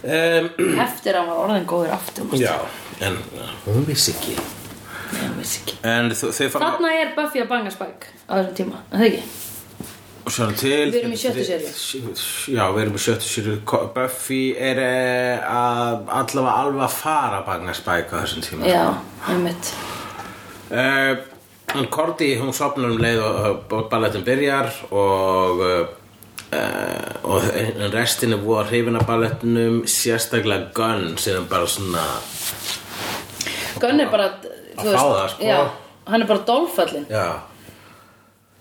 S1: Um,
S2: eftir að hann var orðin góður aftur mástu.
S1: Já, en hún vissi ekki
S2: Nei, ég vissi ekki.
S1: En þau þau fara
S2: þarna er Buffy að banga Spike á þessum tíma, er það ekki?
S1: Svona til
S2: Við erum í sjöttu seríu.
S1: seríu Já, við erum í sjöttu seríu Ko- Buffy er eh, að allavega alveg að fara að bagna Spike á þessum tíma
S2: já, einmitt
S1: uh, En Korti, hún sopnar um leið og, og balletin byrjar og uh, og en restin er voða hrifin af balletinum sérstaklega Gunn sem er bara svona
S2: Gunn er bara
S1: Að
S2: þú
S1: fá það, sko.
S2: já, hann er bara dolfallin
S1: Já,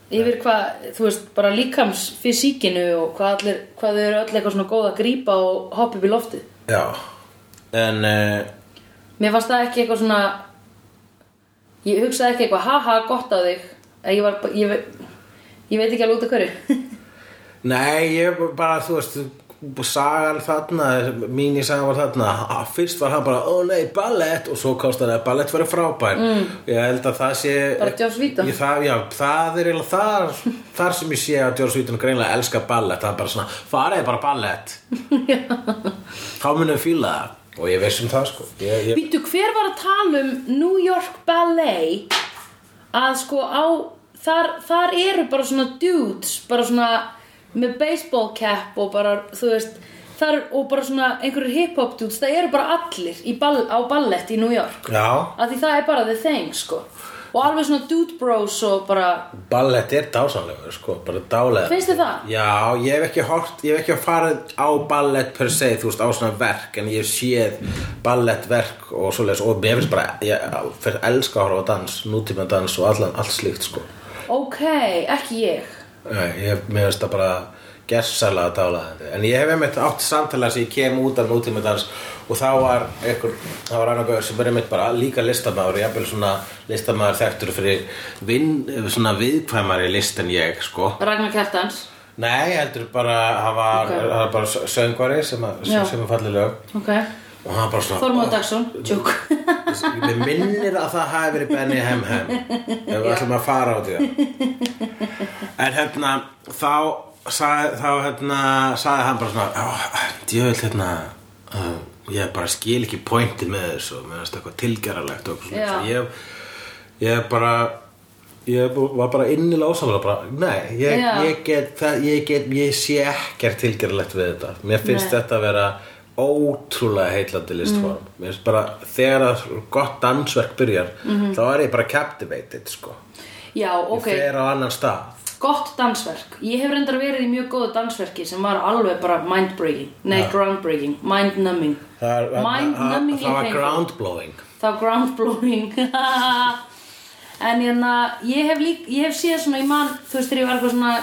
S2: yfir hvað, þú veist, bara líkams fysíkinu og hvað, allir, hvað þau eru öll eitthvað svona góð að grípa og hoppa upp í loftið
S1: já En uh,
S2: mér fannst það ekki eitthvað svona ég hugsaði ekki eitthvað haha, gott á þig En ég, var, bara- ég, ve- ég veit ekki alveg út af hverju
S1: Nei, ég var bara, þú veist, sagan þarna, mínisagan var þarna, ha- fyrst var hann bara, ó nei, ballett, og svo kostar það að ballett verið frábær. Mm. Ég held að það sé...
S2: Bara Joss Whedon.
S1: Ég, það, já, það er eiginlega þar, þar sem ég sé að George Whedon greinlega elska ballett, það er bara svona, farið bara ballett. Þá munum við fíla það. Og ég veist um það, sko. Ég, ég...
S2: býttu, hver var að tala um New York Ballet að sko á þar, þar eru bara svona dudes bara svona með baseball cap og bara þú veist þar, og bara svona einhverjir hip-hop dudes það eru bara allir í ball, á ballett í New York
S1: Já,
S2: að því það er bara the thing sko og alveg svona dude bros og bara
S1: Ballett er dásanlegur sko, bara dálega
S2: Finnst þér það?
S1: Já, ég hef ekki hort, ég hef ekki farið á ballett per se, þú veist, á svona verk en ég hef séð ballettverk og svoleiðis og mér finnst bara ég fyrir elska að horfa á dans, nútíma dans og allan, allt slíkt sko
S2: ok, ekki ég
S1: Nei, ég, mér finnst það bara gersalega dálæðandi en ég hef einmitt átt samtala sem ég kem út af nútíma dans og þá var einhver, þá var annar gauður sem var einmitt bara líka listamæður, jafnvel svona listamæður þekktur fyrir vinn, svona viðkvæmari list en ég sko
S2: Ragnar Kjartans
S1: Nei, heldur bara hann var,
S2: Ok.
S1: hann var bara söngvari sem, að-
S2: Já.
S1: sem, sem er fallið lög
S2: ok,
S1: og hann var bara svona
S2: Þormóð Dagsson joke
S1: Mér minnir að það hafi verið Benny Hem Hem ef við ætlum að fara á því en hérna þá sagði, þá hérna sagði hann bara svona djöfull hérna uh, ég bara skil ekki pointið með þessu og mér finnst eitthvað tilgerralegt og eitthvað svona
S2: Já.
S1: ég, ég bara ég var bara innilega ósamlega bara, nei, ég,
S2: Já.
S1: ég get það, ég get, ég sé ekkert tilgerralegt við þetta, mér finnst
S2: Nei.
S1: þetta að vera ótrúlega heitlandi listform
S2: Mm.
S1: mér finnst bara, þegar að gott dansverk byrjar, þá er ég bara captivated, sko
S2: já,
S1: ég
S2: Mhm. ok,
S1: fer á annan stað
S2: gott dansverk ég hef reyndar verið í mjög góðu dansverki sem var alveg bara mind-breaking nei, ground-breaking, mind-numbing
S1: Það, er-
S2: mind-numbingly
S1: það var
S2: painful.
S1: groundblowing
S2: Það var groundblowing En hérna, ég hef lík, ég hef séð svona, ég man, þú veist, þegar ég var eitthvað svona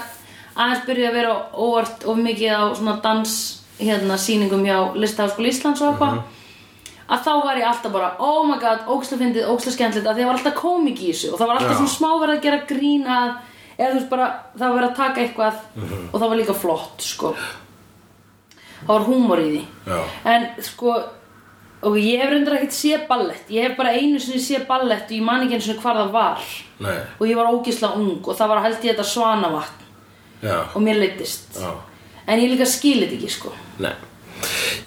S2: aðeins byrjuð að vera óvart of mikið á svona dans, hérna, sýningum hjá Listaháskóla Íslands og eitthvað að þá var ég alltaf bara, oh my god, óksla fyndið, óksla skemmtilegt, að því það var alltaf komik í þessu og það var alltaf
S1: Já.
S2: svona smá verið að gera grín að eða þú veist bara, það var verið að taka eitthvað og það var líka flott, sko það var húmor í því
S1: Já.
S2: en sko og ég hef reyndar ekkert séð ballett ég hef bara einu sinni séð ballett og ég man ekki einu sinni hvar það var
S1: nei,
S2: og ég var ógisla ung og það var held ég þetta svanavatn
S1: já,
S2: og mér leittist
S1: já
S2: en ég líka skilið ekki sko
S1: Nei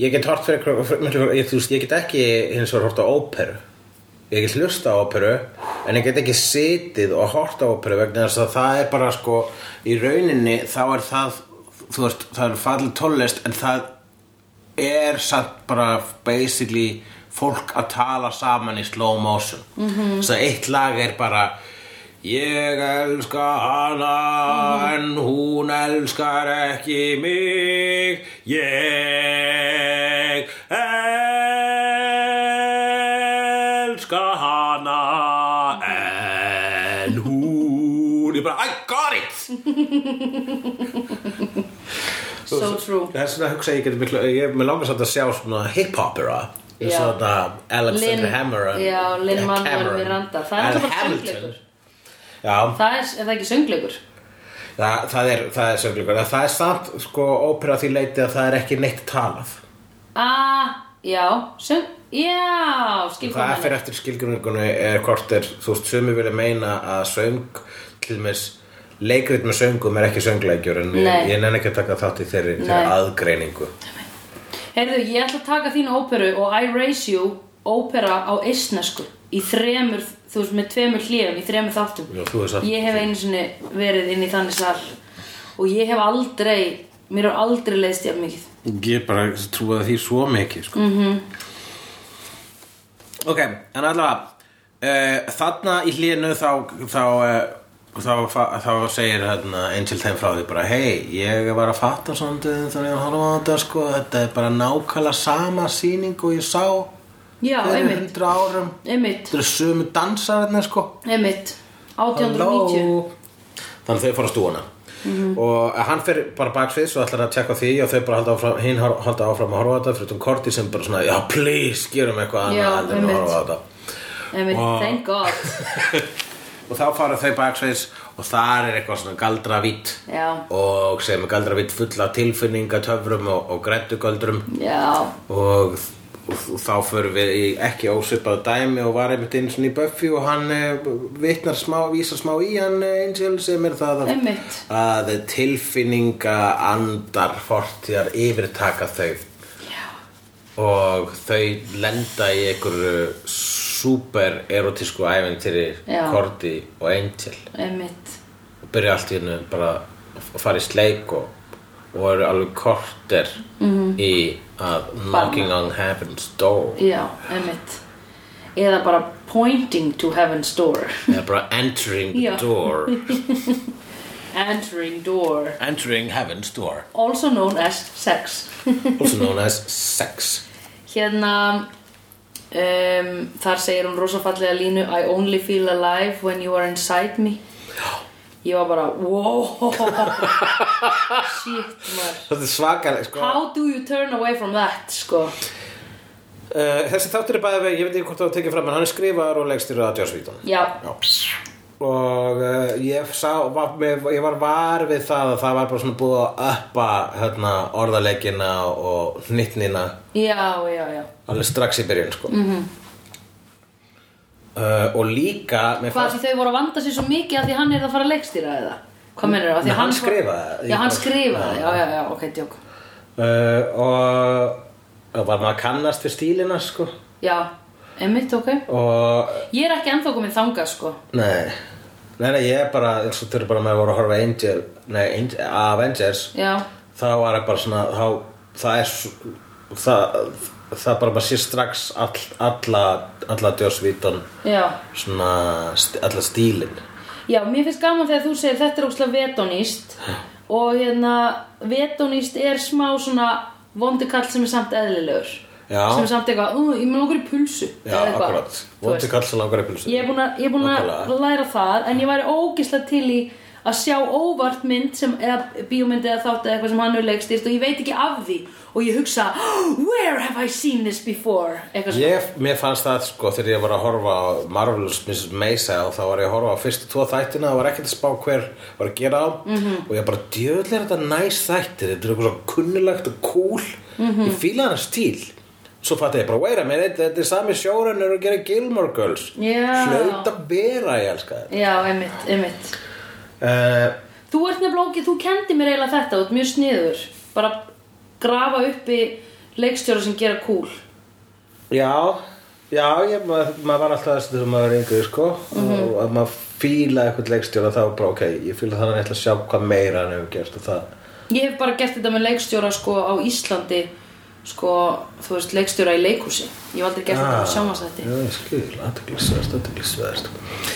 S1: Ég get hort fyrir, fyrir, fyrir ég, þú veist, ég get ekki hins vegar hort á óperu Ég get hlusta á óperu En ég get ekki setið og hort á óperu vegna þess að það er bara sko Í rauninni þá er það Þú veist, það er fallið tónlist En það er samt bara basically fólk að tala saman í slow motion mm -hmm. Svo eitt lag er bara Ég elska hana en hún elskar ekki mig Ég elska hana en hún Ég bara, I got it!
S2: so true
S1: Það er svona að hugsa ég getur miklu, ég með langar svolítið að sjá svona hip-hopera eins og
S2: Já.
S1: þetta Alexander
S2: Lin-
S1: Hammer
S2: já, Lin
S1: eh,
S2: Manuel
S1: Cameron.
S2: Miranda. Það er
S1: Al
S2: náttúrulega
S1: Hamilton.
S2: söngleikur.
S1: Já,
S2: það er, er það ekki söngleikur
S1: það, það er, það er söngleikur En Það er samt, sko, ópera því leiti að það er ekki neitt talað
S2: aaa, Ah, já, söng já, skil
S1: Það
S2: hvað
S1: er fyrir eftir skilgruningunni er hvort er, þú veist, sumi vilja meina að söng, til dæmis leikrit með söngum er ekki söngleikjur en ég,
S2: Nei.
S1: ég nenni ekki að taka þátt í þeirri,
S2: Nei.
S1: þeirri aðgreiningu
S2: heyrðu, ég ætla að taka þína óperu og I Raise You ópera á eistnesku í þremur, þú veist, með tveimur hlífum í þremur þáttum
S1: Já, þú er samt
S2: ég hef einu sinni verið inn í þannig sal og ég hef aldrei mér har aldrei leiðst jafn mikið
S1: Ég bara trúið því svo mikið sko. mm
S2: Mhm.
S1: -hmm. Ok, en allavega uh, Þarna í hlínu þá þá, uh, þá, þá, þá segir hérna, Angel þeim frá því bara Hei, ég var að fatta svolítið þannig að horfa á þetta sko Þetta er bara nákvæmlega sama sýning og ég sá
S2: já,
S1: fyrir
S2: einmitt,
S1: 100 árum
S2: einmitt,
S1: Þetta er sömu dansararnir sko
S2: einmitt 1890
S1: Þannig þau fóru að stúana og hann fer bara baksviðs og ætlar að tjekka á því og þau bara halda áfram, hinn har- halda áfram að horfa á þetta fyrir um Korti sem bara svona, já please gerum eitthvað
S2: Já,
S1: annað heldur en að
S2: einmitt.
S1: horfa á þetta
S2: einmitt,
S1: Vá.
S2: thank god
S1: og þá fara þau baksviðs og þar er eitthvað svona galdravitt
S2: Já.
S1: og sem er galdravitt fulla af tilfinningatöfrum og, og grættugöldrum
S2: já,
S1: og, og þá förum við í ekki ósvipað dæmi og var einmitt einu svona í Buffy og hann eh, vitnar smá, vísar smá í hann eh, Angel sem er það að,
S2: Einmitt.
S1: að tilfinninga andar fortíðar yfirtaka þau og þau lenda í einhverju super erotísku æventýri
S2: Já.
S1: Korti og Angel
S2: einmitt
S1: og byrja allt í hennu bara að fara í sleik og, og eru alveg korter í að knocking on heaven's door
S2: já, einmitt eða bara pointing to heaven's door
S1: eða bara entering the
S2: Já.
S1: door
S2: entering door
S1: entering heaven's door
S2: also known as sex
S1: also known as sex
S2: hérna um, þar segir hún rosafallega línu I only feel alive when you are inside me ég var bara wow shit maður
S1: þetta er svakalega sko.
S2: how do you turn away from that sko
S1: uh, þessi þáttur er bæði vegi, ég veit ekki hvort það var tekið fram en hann er skrifaður og legstir að Joss Whedon
S2: já,
S1: Já. og uh, ég, sá, var, mér, ég var var við það að það var bara svona búið að uppa hérna, orðaleikina og hnittnina
S2: já, já, já Mhm.
S1: alveg strax í byrjun sko. mm -hmm. uh, og líka mér
S2: hvað því þau voru að vanda sér svo mikið að því hann er að fara að leikstýra eða hvað mennir það?
S1: Nei, hann skrifaði það.
S2: já, hann skrifaði, já, já, já, ok, djók
S1: uh, og og var maður að kannast við stílina sko.
S2: já, einmitt, ok
S1: og
S2: ég er ekki ennþá komin þangað, sko
S1: nei Nei, nei, ég er bara, eins og þurfi bara með að voru að horfa á Angel, nei, Angel, Avengers
S2: já,
S1: þá var það bara svona þá, það er svo- það, það bara bara sér strax all, alla, alla djósvítan
S2: já
S1: svona st- alla stílin
S2: já, mér finnst gaman þegar þú segir þetta er ókslega vetonist og hérna, vetonist er smá svona vondi kall sem er samt eðlilegur
S1: Já.
S2: sem er samt eitthvað, "Ú, ég með langar í pulsu
S1: já, akkurat, vondi kall sem langar eppilsu
S2: Ég er búin að, ég er búin að
S1: Nákvæmlega.
S2: læra það en ég væri ógislega til í að sjá óvart mynd sem, eða bíómynd eða þátt eða eitthvað sem hann er leikstýrt og ég veit ekki af því og ég hugsa Where have I seen this before? Eitthvað svona
S1: Ég, mér fannst það sko þegar ég var að horfa á Marvelous Mrs. Maisel þá var ég að horfa á fyrstu tvo þættina það var ekkert að spá hver var að gera á -hmm. og ég bara djöðlega er þetta næs þættir þetta er eitthvað svo kunnulegt og cool ég fíla hann stíl svo fatt ég bara, wait a minute, þetta er sami sjórennur að gera Gilmore Girls
S2: Já.
S1: hlaut að vera, ég elska þetta
S2: Já, einmitt, einmitt
S1: uh,
S2: Þú ert nefnilega ógið, þú kendi mér eiginlega þetta þú ert mjög sniður bara grafa uppi leikstjóra sem gera cool
S1: Já, já, ég, maður, maður var alltaf þessu sem maður er yngri, sko
S2: Mhm.
S1: og að maður fíla eitthvað leikstjóra þá bara, ok, ég fíla þannig að ætla að sjá hvað meira hann hefur gerst og það
S2: Ég hef bara gert þetta með leikstjóra sko á Íslandi sko, þú veist, leikstjóra í leikhúsi Ég hef aldrei gert þetta með sjónvarsætti
S1: Ah, Já, ég skil, aðtöklisverst, aðtöklisverst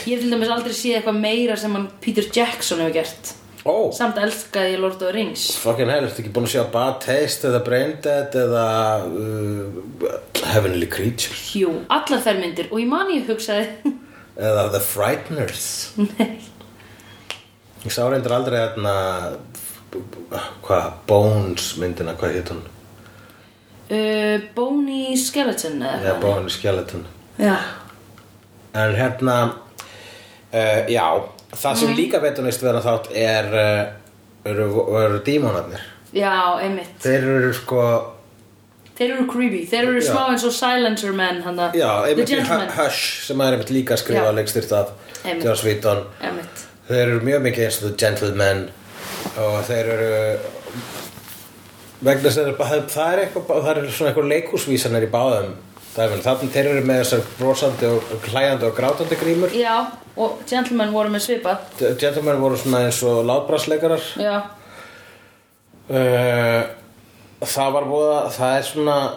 S2: Ég hef til dæmis aldrei séð eitthvað meira sem hann Peter Jackson hefur gert
S1: Ó,
S2: Samt elskaði ég Lord of the Rings
S1: fucking hell, ertu ekki búin að sjá Bad Taste eða Brain Dead eða uh, Heavenly Creatures
S2: Jú, allar þær myndir og ég man ég hugsaði
S1: eða The Frighteners
S2: Nei
S1: Ég sá reyndur aldrei hérna, þarna hvað, Bones myndina, hvað hétt hún?
S2: uh, Bony Skeleton eða
S1: Já,
S2: eitthvað.
S1: Bones Skeleton
S2: Já,
S1: En hérna, uh, já, það
S2: Mhm.
S1: sem líka veitunist við hann þátt er, uh, eru, eru dímonarnir.
S2: já, einmitt
S1: Þeir eru sko,
S2: Þeir eru creepy, þeir eru
S1: Já.
S2: smá eins og Silencer menn hana,
S1: já,
S2: The
S1: einmitt í
S2: Gentleman
S1: Hu- Hush sem er einmitt líka að skrifa
S2: Já.
S1: leikstýrt af
S2: Einmitt.
S1: Joss Whedon.
S2: Einmitt,
S1: Þeir eru mjög mikið eins og The Gentleman og þeir eru, vegna sem þeir, það- það er eitthvað, það eru svona eitthvað leikúsvísanir í báðum. Þannig að þeir eru með þessar brosandi og hlæjandi og grátandi grímur.
S2: já, og Gentleman voru með svipað
S1: Gentleman voru svona eins og látbrasleikarar.
S2: Já,
S1: Uh, það var búið það er svona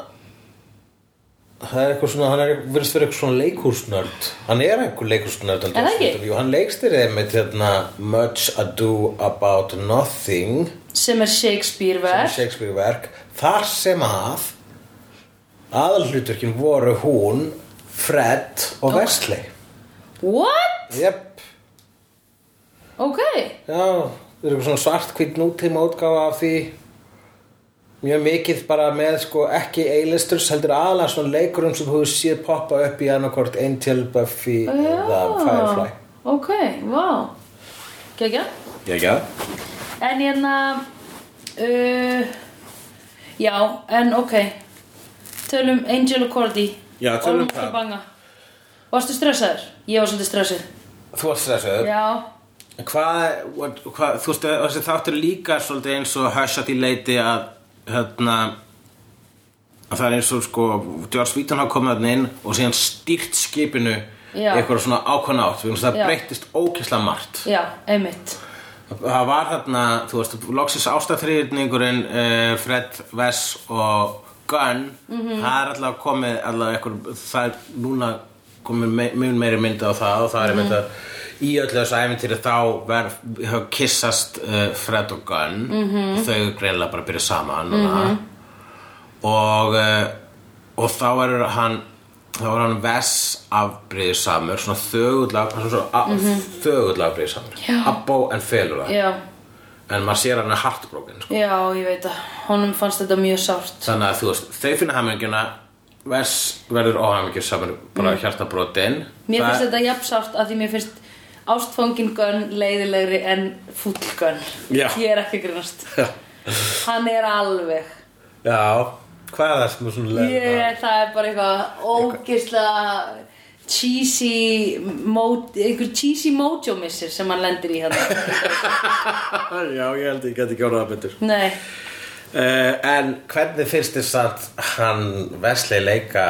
S1: það er eitthvað svona hann er verðist verið eitthvað svona leikúsnörd hann er eitthvað leikúsnörd
S2: Er það ekki?
S1: Jú, hann leikstýrið einmitt hérna Much Ado About Nothing
S2: sem er Shakespeare
S1: sem er
S2: verð
S1: Shakespeare verk þar sem að aðalhluturkin voru hún Fred og Wesley
S2: What?
S1: Jep,
S2: Ok,
S1: já, það er eitthvað svona svart hvít nútíma útgáfa af því mjög mikið bara með sko ekki A-listers heldur aðalega svona leikurum sem þú hefur séð poppa upp í annarkort Angel, Buffy eða Firefly
S2: ok, wow Gekja?
S1: Já, já
S2: En hérna uh, Já, en ok Tölum Angel og Cordy
S1: Já, tölum
S2: Ormur
S1: það.
S2: og banga Varstu stressaður? Ég var svolítið stressaður
S1: Þú varst þessu
S2: Já,
S1: Hvað, what- hvað, þú veist þessi þáttur er líka svolítið eins og hörs að því leiti að hérna að það er eins og sko George Whedon hafa komið þarna inn og síðan stýrt skipinu
S2: Já.
S1: eitthvað svona ákvæmna átt vegna þess að það
S2: Já.
S1: breyttist ókislega margt
S2: já, einmitt
S1: Það var þarna, þú veist, loksins ástæðþriðningurinn uh, Fred, Vess og Gunn Það er allavega komið, allavega ekkur, það er núna komið me mun meiri myndi á það og það er myndi að í öllu þessu æfintýri þá ver, þá kissast uh, Fred og Gunn -hmm. og þau greinlega bara byrja saman mm -hmm. og uh, og þá er hann þá er hann Vess afbrýðisamur svona þögull af- svona svo, mm -hmm. þögull
S2: Já.
S1: afbrýðisamur abbó en felur það
S2: Já,
S1: en maður sér að hann er hartbrókin sko.
S2: já, ég veit að honum fannst þetta mjög sárt
S1: þannig að þú veist, þau finna hamingjuna Vess verður óhamingjur saman bara mm. hjartabrotin
S2: Mér
S1: Það-
S2: finnst þetta jafn sárt að því mér finnst ástfóngin gönn leiðilegri en fúll gönn
S1: Já.
S2: Ég er ekki að grínast Hann er alveg
S1: Já, hvað er það sem er svona leiðin?
S2: Ég, það er bara eitthvað ógeðslega cheesy mo- einhver cheesy mojo missir sem hann lendir í hérna. hann
S1: Já, ég held ég geti ekki orðað betur.
S2: Nei,
S1: Uh, en hvernig finnst þér satt hann Vesli leika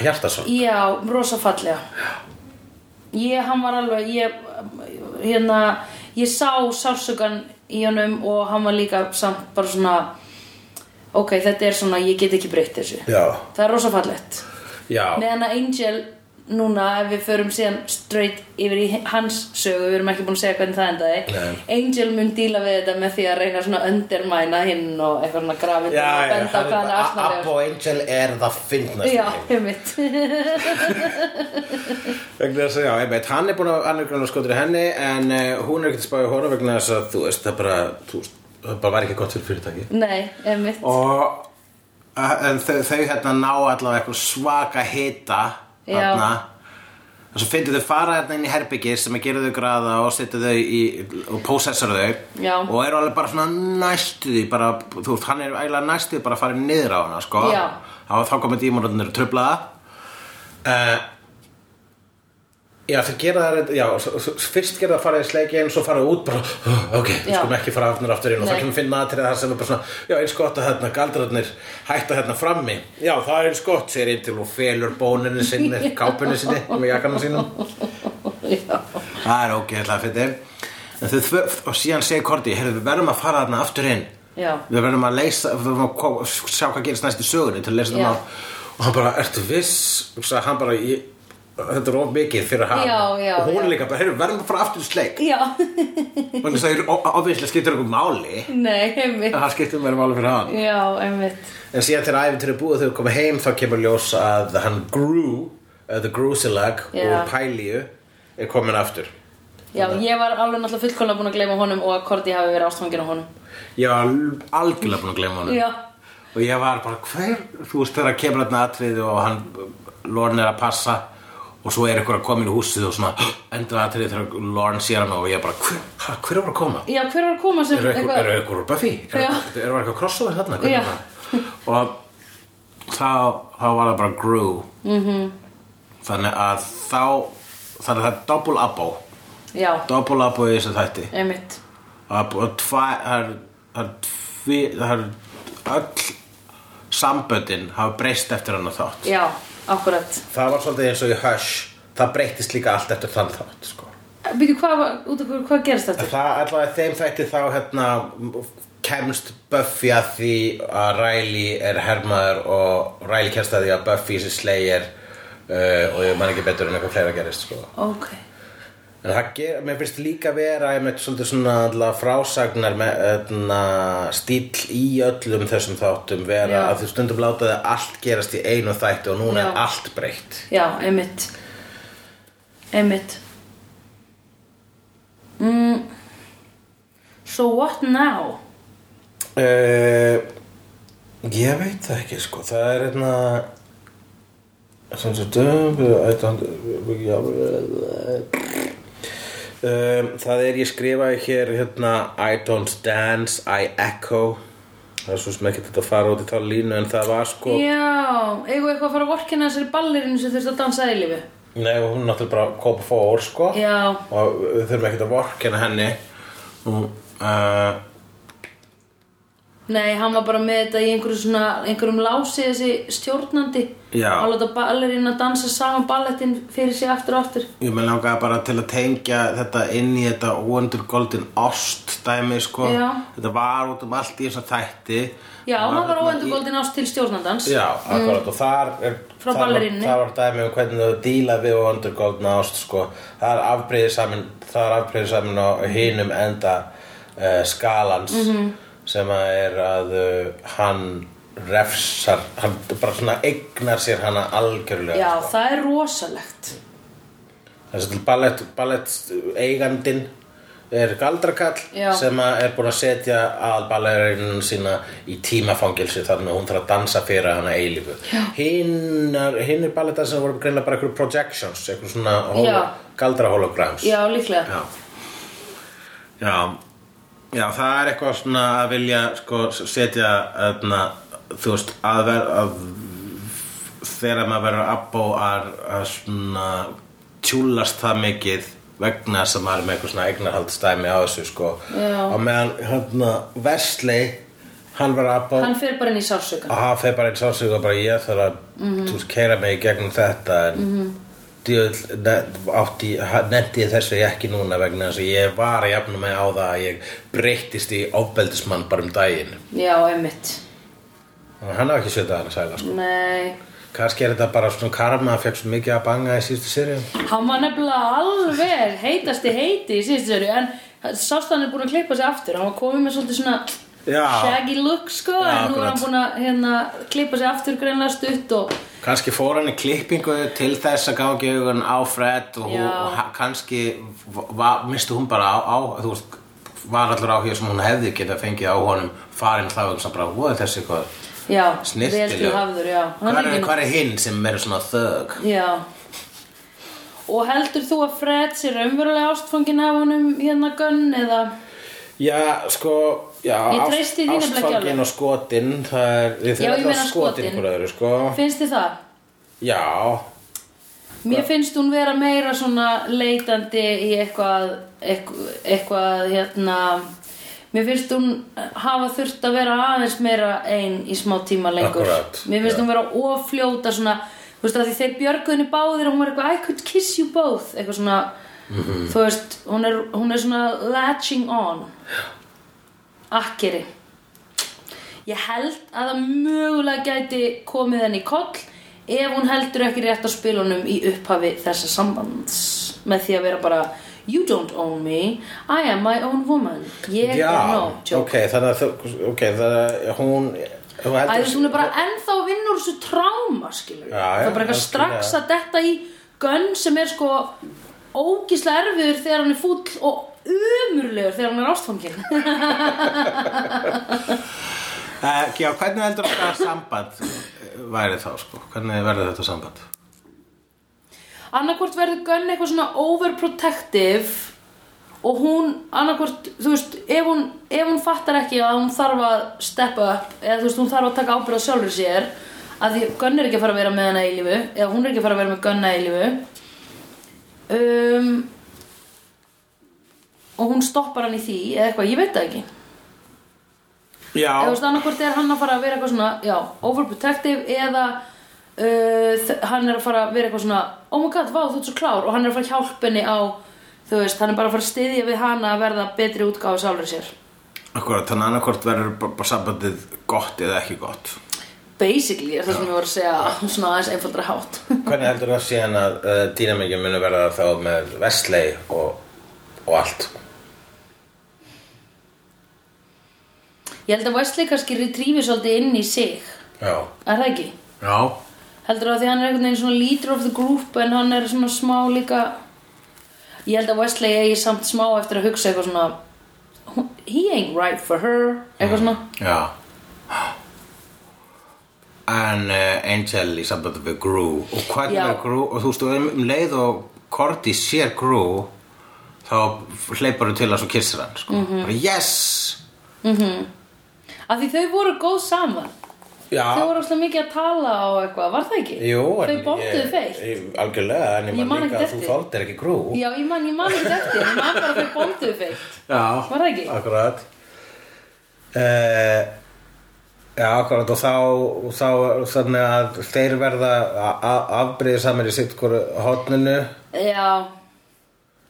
S1: Hjartason?
S2: já, rosa fallega Ég, hann var alveg ég, hérna, ég sá sársökan í honum og hann var líka samt bara svona ok, þetta er svona, ég get ekki breytt þessu
S1: Já.
S2: Það er rosa fallegt
S1: Já,
S2: meðan að Angel núna ef við förum síðan straight yfir í hans sögu, við erum ekki búin að segja hvernig það endaði
S1: Nei.
S2: Angel mun díla við þetta með því að reyna svona undermæna hinn og eitthvað svona grafið
S1: já,
S2: og benda á
S1: hann
S2: hvað hann er
S1: er bara,
S2: aðsnaðlegur
S1: Abbo Angel er það fyndnast.
S2: Já, einmitt
S1: Vegna þess að, já, einmitt, hann er búin að annir grann að skotur í henni en uh, hún er ekkert spáðið hóra vegna þess að þú veist, það bara, þú veist, það bara var ekki gott fyrir fyrirtæki.
S2: Nei, einmitt
S1: og en þau, þau hérna ná allavega eitthvað svaka hita
S2: Já.
S1: þarna og svo finnir þau fara hérna inn í herbyggir sem að gera þau graða og setja þau í og possessar þau
S2: Já.
S1: og eru alveg bara svona næstu því bara, þú veist, hann er eiginlega næstu því bara að fara niður á hana sko
S2: Já.
S1: þá, þá komið dímonarnir og trublaða uh, Já, þau gera það, já, s- s- fyrst gera það farið í sleikinn, svo farið út bara, "Oh, ok, við
S2: Já.
S1: skulum ekki fara aftur aftur inn og
S2: Nei.
S1: það kemur finna aðtrið þar sem er bara svona, já, eins gott að hérna galdrarnir hætta hérna frammi. Já, það er eins gott, segir einn til og felur bóninu sinni, kápunni sinni, með jakkanum sínum.
S2: Já,
S1: Það er ógeðlega fyrir. En þau þvör, og síðan segir Korti, heyrðu, við verðum að fara þarna aftur inn.
S2: já,
S1: Við verðum að leysa, við verðum að koma- sjá hvað gerist næst í sögunni til að leysa
S2: Já.
S1: það mál. Og hann bara, ertu viss? Og sagði hann bara, ég, þetta er of mikið fyrir hann.
S2: Já, já,
S1: og hún er
S2: já.
S1: líka bara, heyrðu, verðum að fara aftur í sleik.
S2: já.
S1: Og þess að ofislega skiptir einhver máli
S2: Nei, einmitt
S1: En það skiptir mér máli fyrir hann
S2: Já, einmitt
S1: En síðan þegar æfintur er búið og þau koma heim Þá kemur ljós að hann Gru uh, The Grusilag
S2: Já.
S1: úr Pælíu Er komin aftur
S2: Já, ég var alveg náttúrulega fullkomlega búin að gleyma honum og að Korti hafi verið ástfangin á honum
S1: Ég var algjörlega búin að gleyma honum
S2: Já,
S1: Og ég var bara, hver? Þú veist þegar kemur hann atrið og hann Lorne er að passa Og svo er eitthvað að koma inn í húsið og svona Endur atrið þegar Lorne sér hann Og ég bara, hver, ha, hver var að koma?
S2: já hver var að koma sem
S1: eru eitthvað eru eitthvað úr Buffy eru
S2: Já.
S1: eitthvað- eru eitthvað crossover þarna
S2: Já.
S1: hvernig var það? og þá, þá var það bara Gru -hmm.
S2: Mhm.
S1: þannig að þá þannig að það er double abo
S2: Já,
S1: double abo í þessu þætti
S2: einmitt
S1: Það er bú- og tva, það er, það er, tvi, það er öll samböndin hafa breyst eftir hann að þátt
S2: Já, akkurat
S1: það var svolítið eins og í Hush það breytist líka allt eftir þann þátt sko.
S2: Býtu, hvað, var- út af hverju, hvað gerist þetta?
S1: Það allavega þeim þætti þá hérna kemst Buffy að því að Riley er hermaður og Riley kemst að því að Buffy sér slegir uh, og ég man ekki betur en eitthvað fleira gerist sko.
S2: Ok,
S1: En það ger, mér finnst líka vera einmitt svolítið svona allavega frásagnar með öðna, stíl í öllum þessum þáttum vera
S2: Já.
S1: að þú stundum láta það allt gerast í einu þætti og núna
S2: Já.
S1: er allt breytt.
S2: já, einmitt Einmitt mm. So what now?
S1: Uh, ég veit það ekki sko það er hérna sem eh, sem dömb Um, það er ég skrifaði hér hérna I don't dance, I echo það er svo sem ekki þetta að fara út í þá línu en það var sko
S2: Já, eigum við eitthvað að fara að vorkina þessari ballerinu sem þurfti að dansa í lífi
S1: Nei, og hún er náttúrulega bara kópa fór, sko
S2: Já.
S1: Og eh, við þurfum ekkert að vorkenna henni Nú, uh,
S2: Nei, hann var bara með þetta í einhverju svona, einhverjum lási þessi stjórnandi
S1: Já.
S2: Hann láta ballerinn að dansa saman ballettin fyrir sig aftur og aftur
S1: Ég með langaði bara til að tengja þetta inn í þetta óendurgoldin ást dæmi sko
S2: Já.
S1: Þetta var út um allt í þessa þætti
S2: Já,
S1: Það
S2: hann var
S1: þarna
S2: óendur
S1: í-
S2: góldin ást til stjórnandans
S1: Já, akkurat og þar er
S2: Frá
S1: þar var-
S2: ballerinni.
S1: Þar var dæmi um hvernig þau díla við óendurgoldin ást sko Það er afbreyði samin, það er afbreyði samin á hinum enda uh, skalans
S2: Mhm.
S1: -hmm. sem að er að uh, hann refsar, hann bara svona eignar sér hana algjörlega
S2: Já,
S1: sko.
S2: það er rosalegt
S1: Þessi til ballett, ballett eigandin er galdrakall
S2: Já.
S1: sem að er búin að setja að ballerinu sína í tímafangilsi þannig að hún þarf að dansa fyrir hana eilífu. Hinn er balletar sem voru greinlega bara einhverjum projections, einhverjum svona holo,
S2: Já.
S1: galdra holograms.
S2: Já, líklega
S1: Já. Já. Já, það er eitthvað svona að vilja sko, setja öðna, þú veist, að vera að þegar maður verður abbó að, að svona tjúlast það mikið vegna sem maður er með eitthvað svona eignarhaldstæmi á þessu sko
S2: Já.
S1: og meðan hérna Vesli hann verður abbó
S2: Hann fer bara inn í sársöka
S1: og hann fer bara einn sásug og bara ég þarf að þú veist, keira mig í gegnum þetta en mm -hmm. djöðl átti, nefndi ég þessu ekki núna vegna þess að ég var að jafna mig á það að ég breyttist í ofbeldismann bara um daginn
S2: Já, einmitt
S1: og hann hafði ekki sjötað hann að sæla sko.
S2: Nei
S1: kannski er þetta bara svona karma að fekk svo mikið að banga í síðustu serið
S2: Hann var nefnilega alveg heitasti heiti í síðustu serju en sástan er búin að klippa sig aftur hann var komið með svolítið svona
S1: Já.
S2: shaggy look sko
S1: Já,
S2: en nú er
S1: akkurat.
S2: hann búin að hérna, klippa sig aftur greinlega stutt og
S1: Kanski fór hann í klippingu til þess að gangi augun á Fred og,
S2: Já.
S1: og ha- kannski va, misti hún bara á, á þú veist, var allur áhuga sem hún hefði geta fengið á honum farin þá og bara, hvað er þessi hvað
S2: já, vel til
S1: snirtileg
S2: hafður já. Hann
S1: hvað er,
S2: ekki-
S1: hvar er hinn sem verður svona þög
S2: já Og heldur þú að Fred sé raunverulega ástfangin af honum hérna Gunn eða
S1: Já, sko, já,
S2: Ég treysti því nefnilega ekki alveg.
S1: ástfangin og skotin það er, við
S2: Já, ég
S1: þurfum alltaf
S2: meina
S1: skotin
S2: skotin.
S1: hvort öðru, sko
S2: finnst þið það?
S1: Já,
S2: Mér finnst hún vera meira svona leitandi í eitthvað, eitthvað, eitthvað hérna, mér finnst hún hafa þurft að vera aðeins meira einn í smá tíma lengur.
S1: Akkúrat,
S2: Mér finnst
S1: já.
S2: hún vera ofljóta svona, þú veist að því þeir björguðinni báðir og hún var eitthvað, I could kiss you both, eitthvað svona, þú veist, hún er, hún er svona latching on. Akkeri. Ég held að það mögulega gæti komið henni í koll ef hún heldur ekki rétt á spilunum í upphafi þessa sambands með því að vera bara You don't own me, I am my own woman Ég
S1: já,
S2: er no joke
S1: ok, þannig að þú, ok, þannig að hún Hún
S2: Æ,
S1: heldur-
S2: þú veist, hún er bara ennþá að vinna úr þessu tráma, skilur
S1: Já,
S2: Það er
S1: já,
S2: bara eitthvað
S1: algjörlega.
S2: strax að detta í gönn sem er sko ógíslega erfiður þegar hann er fúll og umurlegur þegar hann er ástfangin
S1: Uh, já, hvernig heldur þetta samband væri þá, sko? Hvernig verður þetta samband?
S2: annarkvort verður Gunn eitthvað svona overprotective og hún annarkvort, þú veist, ef hún, ef hún fattar ekki að hún þarf að steppa upp eða þú veist, hún þarf að taka ábyrða sjálfur sér að því Gunn er ekki að fara að vera með hana í lífu eða hún er ekki að fara að vera með Gunna í lífu um, og hún stoppar hann í því eða eitthvað, ég veit það ekki eða þú
S1: Já,
S2: veist annarkvort er hann að fara að vera eitthvað svona já, overprotective eða uh, þ- hann er að fara að vera eitthvað svona oh my god, vá, þú ert svo klár og hann er að fara að hjálpa henni á þú veist, hann er bara að fara að styðja við hana að verða betri útgáfa sálur sér
S1: akkurat, þannig annarkvort verður bara- bara sambandið gott eða ekki gott.
S2: basically er það sem ég voru að segja á svona aðeins einfaldra hátt
S1: Hvernig heldur það síðan að uh, dýnamíkjum muni verða þá með Vestley og, og allt?
S2: ég held að Wesley kannski retriefi svolítið inn í sig
S1: Já.
S2: er það ekki?
S1: Já.
S2: heldur að því hann er einhvern veginn svona leader of the group en hann er svona smá líka ég held að Wesley eigi samt smá eftir að hugsa eitthvað svona he ain't right for her eitthvað svona
S1: Já. En uh, Angel í sambandi við Gru og hvernig
S2: Já.
S1: er Gru og þú veist, um um leið og Korti sér Gru þá hleypar hún til að svo kissir hann, sko.
S2: Mhm.
S1: Bara, Yes!
S2: af því þau voru góð saman
S1: Já.
S2: þau voru alltaf mikið að tala og eitthvað, var það ekki?
S1: Ah. Jú, en
S2: þau bóttuðu
S1: ég-
S2: feitt
S1: ég- Algjörlega, en ég
S2: Ég man
S1: man líka
S2: ekkert
S1: að þú
S2: eftir.
S1: þóldir ekki grú
S2: já, ég man, ég man ekki eftir ég man bara að þau bóttuðu feitt
S1: Já,
S2: Var það ekki?
S1: Akkurat uh, Já, akkurat og þá, og þá þannig að þeir verða afbreyðið saman í sitt hvort hotninu
S2: Já,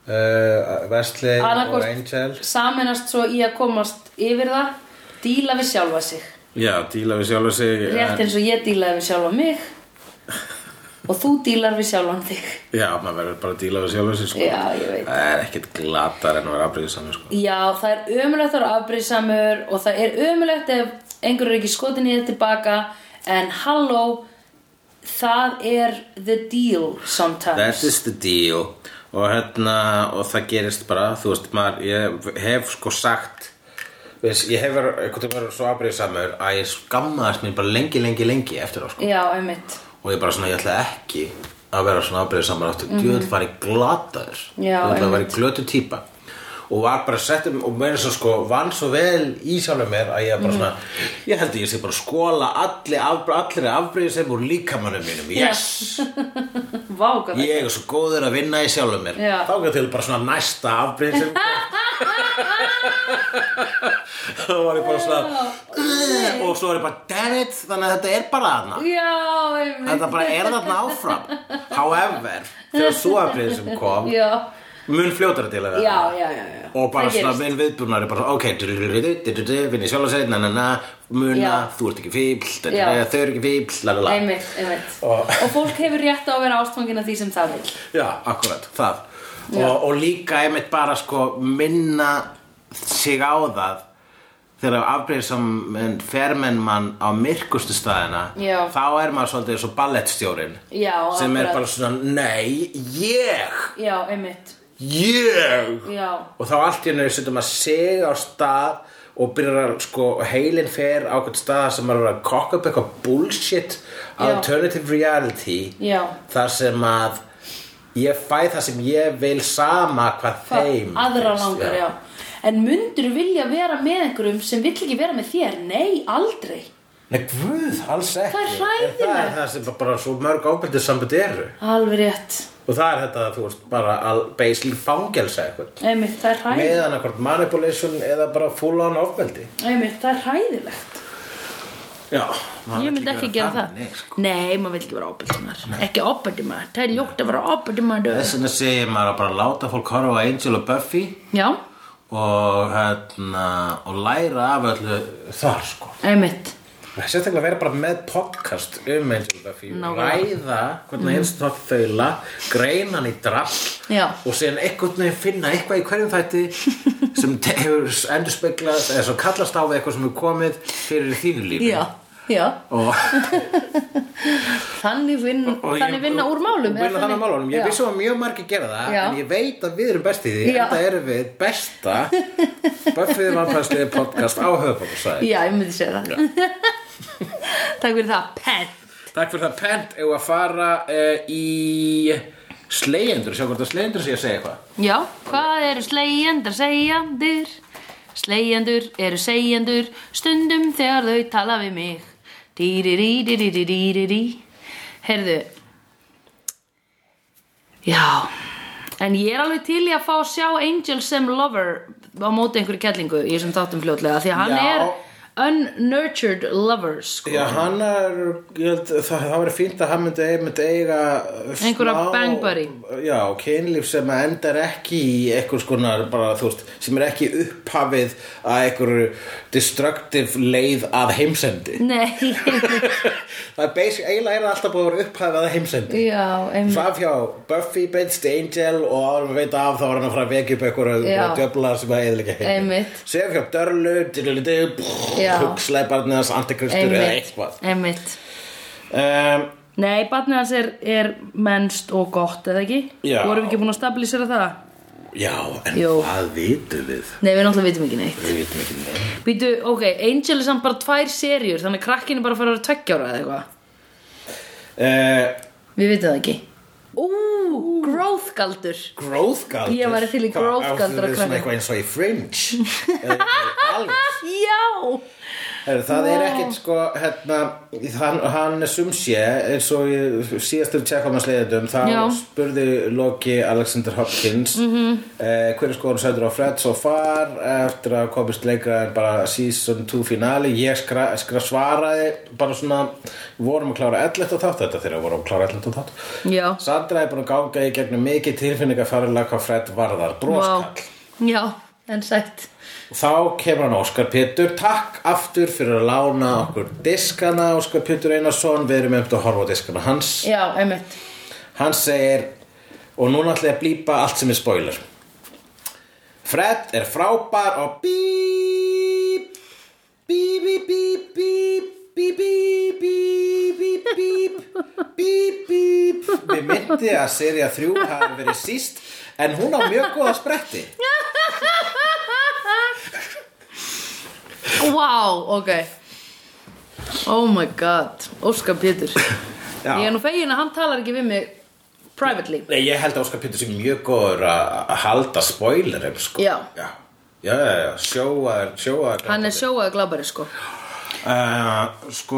S1: uh, Vesli og Angel
S2: annarkort saminast svo í að komast yfir það díla við sjálfa sig
S1: Já, díla við sjálf og sig
S2: rétt eins og ég dílaði við sjálfa mig og þú dílar við sjálfan þig
S1: Já, maður verður bara að díla við sjálf og sig sko.
S2: Já, ég veit.
S1: Það er ekkert glatar en að vera afbreyðið saman sko.
S2: Já, það er ömulegt að vera afbrýðsamur og það er ömulegt ef einhver er ekki skotin í þetta tilbaka en halló það er the deal sometimes
S1: That is the deal og, hérna, og það gerist bara þú veist, maður, ég hef sko sagt veist, ég hef verið einhvern veginn verið svo afbreyðisamur að ég skammaðist mér bara lengi, lengi, lengi eftir á sko.
S2: Já, einmitt
S1: og ég bara svona, ég ætla ekki að vera svona afbreyðisamur aftur, mm -hmm. djöðl var ég glataður
S2: Mhm. Já,
S1: ég ætla að vera
S2: einmitt.
S1: glötu típa og var bara settum og meira svo sko vann svo vel í sjálfum mér að ég bara
S2: Mhm.
S1: svona ég held að ég sé bara skóla allir af, allir afbreyðisem úr líkamannum mínum yes!
S2: Vá, hvað það
S1: ég er svo góður að vinna í sjálfum mér
S2: Já.
S1: þá getur til bara svona næsta afbrýð sem þá var ég bara svona og svo var ég bara damn it, þannig að þetta er bara þarna
S2: Já, einmitt
S1: þetta bara er þarna áfram however, þegar svo afbrýð sem kom
S2: Já,
S1: mun fljótara til að vera
S2: já, já, já, já.
S1: og bara
S2: Það
S1: svona
S2: gerist.
S1: minn viðbúnar er bara ok, vinni sjálf að segja na, na, na, muna,
S2: Já.
S1: þú ert ekki fíbl þau
S2: Já.
S1: eru ekki fíbl, la la la
S2: Einmitt, einmitt
S1: Og-
S2: Og fólk hefur rétt á að vera ástfangin af því sem það vil
S1: Já, akkurat, það og, og líka einmitt bara sko minna sig á það þegar afbreyðsam fermenn mann á myrkustu staðina
S2: Já.
S1: þá er maður svolítið svo ballettstjórin
S2: Já,
S1: sem er
S2: akkurat.
S1: bara svona, nei, ég
S2: Já, einmitt
S1: ég
S2: Já,
S1: og þá allt í hennu setjum maður sig á stað og byrjar að sko heilin fer á hvern stað sem maður er að kokka upp eitthvað bullshit alternative reality
S2: Já.
S1: þar sem að ég fæ það sem ég vil sama hvað
S2: hvað
S1: þeim
S2: aðra
S1: finnst,
S2: langar, já. En mundur vilja vera með einhverjum sem vill ekki vera með þér? Nei, aldrei.
S1: Nei, guð, alls ekki
S2: Það er
S1: En Það er
S2: hræðilegt.
S1: það sem bara svo mörg ábyrðið sambund eru
S2: Alveg rétt.
S1: og það er þetta að þú veist bara að basically fangelsa eitthvað
S2: Einmitt, það er hræðilegt.
S1: meðan eitthvað manipulation eða bara full on ofbeldi
S2: Einmitt, það er hræðilegt.
S1: Já,
S2: Ég myndi ekki gera það.
S1: sko.
S2: Nei, maður vill ekki vera ábyrðumar. Ekki ábyrðumar. Það er ljótt að vera ábyrðumar.
S1: Þess vegna segir maður að bara láta fólk horfa á Angel og Buffy
S2: Já,
S1: og, hérna, og læra af öllu þar sko.
S2: einmitt.
S1: Sérstaklega vera bara með podcast um Angel og Buffy
S2: Nákvæmlega.
S1: Ræða hvernig mm. einst þátt þaula Greinan í drall
S2: Já.
S1: Og síðan einhvern veginn finna eitthvað í hverjum þætti Sem te- hefur endurspeglað Eða svo kallast á við eitthvað sem er komið Fyrir þínu lífi
S2: Já, já.
S1: Og
S2: Þannig, vin,
S1: Og ég-
S2: þannig vinna úr málum.
S1: og
S2: eða
S1: vinna þannig úr málum, ég
S2: Já.
S1: vissi að mjög margir gera það
S2: Já.
S1: en ég veit að við erum best í því
S2: Já.
S1: en það erum við besta Buffy Vampastliði podcast á höfbókusæði
S2: Já, ég myndi segja það. Takk fyrir það. Pen.
S1: Takk fyrir það pent ef að fara uh, í slegjendur, sjá hvort að slegjendur sé að segja eitthvað
S2: Já, hvað eru slegjendur segjandur? Slegjendur eru segjendur stundum þegar þau tala við mig. Dýrirí-dýrirí-dýrirí Herðu, já, en ég er alveg til í að fá að sjá Angel sem lover á móti einhverju kellingu í þessum þáttum fljótlega því að hann
S1: Já.
S2: er unnurtured lover, sko.
S1: Já, hann er, ég held, það, það var fínt að hann myndi, myndi eiga eh, smá-
S2: Einhverja bang buddy.
S1: Já, kynlíf sem að endar ekki í einhvers konar bara, þú veist, sem er ekki upphafið að einhverju destructive leið að heimsendi
S2: Nei,
S1: það er basic, eiginlega er það alltaf búið að vera upphæfað að heimsendi
S2: já, einmitt.
S1: Faf hjá Buffy beinst Angel og árum við veit af þá var hann að fara að vekja upp
S2: Já.
S1: einhverju djöfla sem að eðlega heim
S2: Einmitt.
S1: Sef hjá Dörlu, diluliti,
S2: Já.
S1: hugslæði barnið hans antikristur eða
S2: Einmitt,
S1: eitthvað
S2: einmitt.
S1: um,
S2: Nei, barnið hans er, er mennst og gott, eða ekki?
S1: Já.
S2: Vorum við ekki búin að stabilisera það?
S1: Já, en
S2: Jú.
S1: hvað vitum við?
S2: Nei, við náttúrulega vitum ekki neitt.
S1: Við vitum ekki neitt
S2: Býtu, ok, Angel er samt bara tvær serjur, þannig að krakkin er bara að fara að vera tveggjára eða eitthvað.
S1: uh,
S2: Við vitum það ekki. Ú, growth galdur.
S1: Growth galdur
S2: Ég væri til í growth galdur að
S1: að
S2: krakka.
S1: krakka Eitthvað eins og í Fringe Eða í Alveg
S2: Já!
S1: Heru, það er
S2: Vá.
S1: ekkit sko hérna, hann, hann sumsé eins og ég síðastur tjekkamans leiðendum þá
S2: Já. Mhm.
S1: spurði Loki Alexander Hopkins mm -hmm. eh, hver er skoðan sættur á Fred so far eftir að komist lengra en bara season 2 finale ég skra, skra svaraði bara svona við vorum að klára 11 þátt þetta þegar við vorum að klára 11 þátt
S2: Já.
S1: Sandra er búin að ganga í gegnum mikið tilfinningafarlega hvað Fred varðar broskall
S2: Vá. Já, en sætt
S1: Þá kemur hann Óskar Pétur Takk aftur fyrir að lána okkur diskana Óskar Pétur Einarsson Við erum eftir að horfa á diskana hans
S2: Já, einmitt
S1: Hann segir Og núna ætla ég að blípa allt sem er spoiler Fred er frábær og bíp Bíp, bíp, bíp, bíp Bíp, bíp, bíp, bíp, bíp, bíp, bíp. Mér myndi að serja þrjú hafi verið síst en hún á mjög góða spretti.
S2: Vá, ok Oh my god, Óskar Pétur
S1: Já.
S2: Ég er nú fegin að hann talar ekki við mig privately
S1: Nei, ég held að Óskar Pétur sé mjög góður að að halda spoilerum, sko.
S2: Já.
S1: Já, já, já, já. sjóaður, sjóaður.
S2: Hann er sjóaða glabari sko
S1: Uh, sko,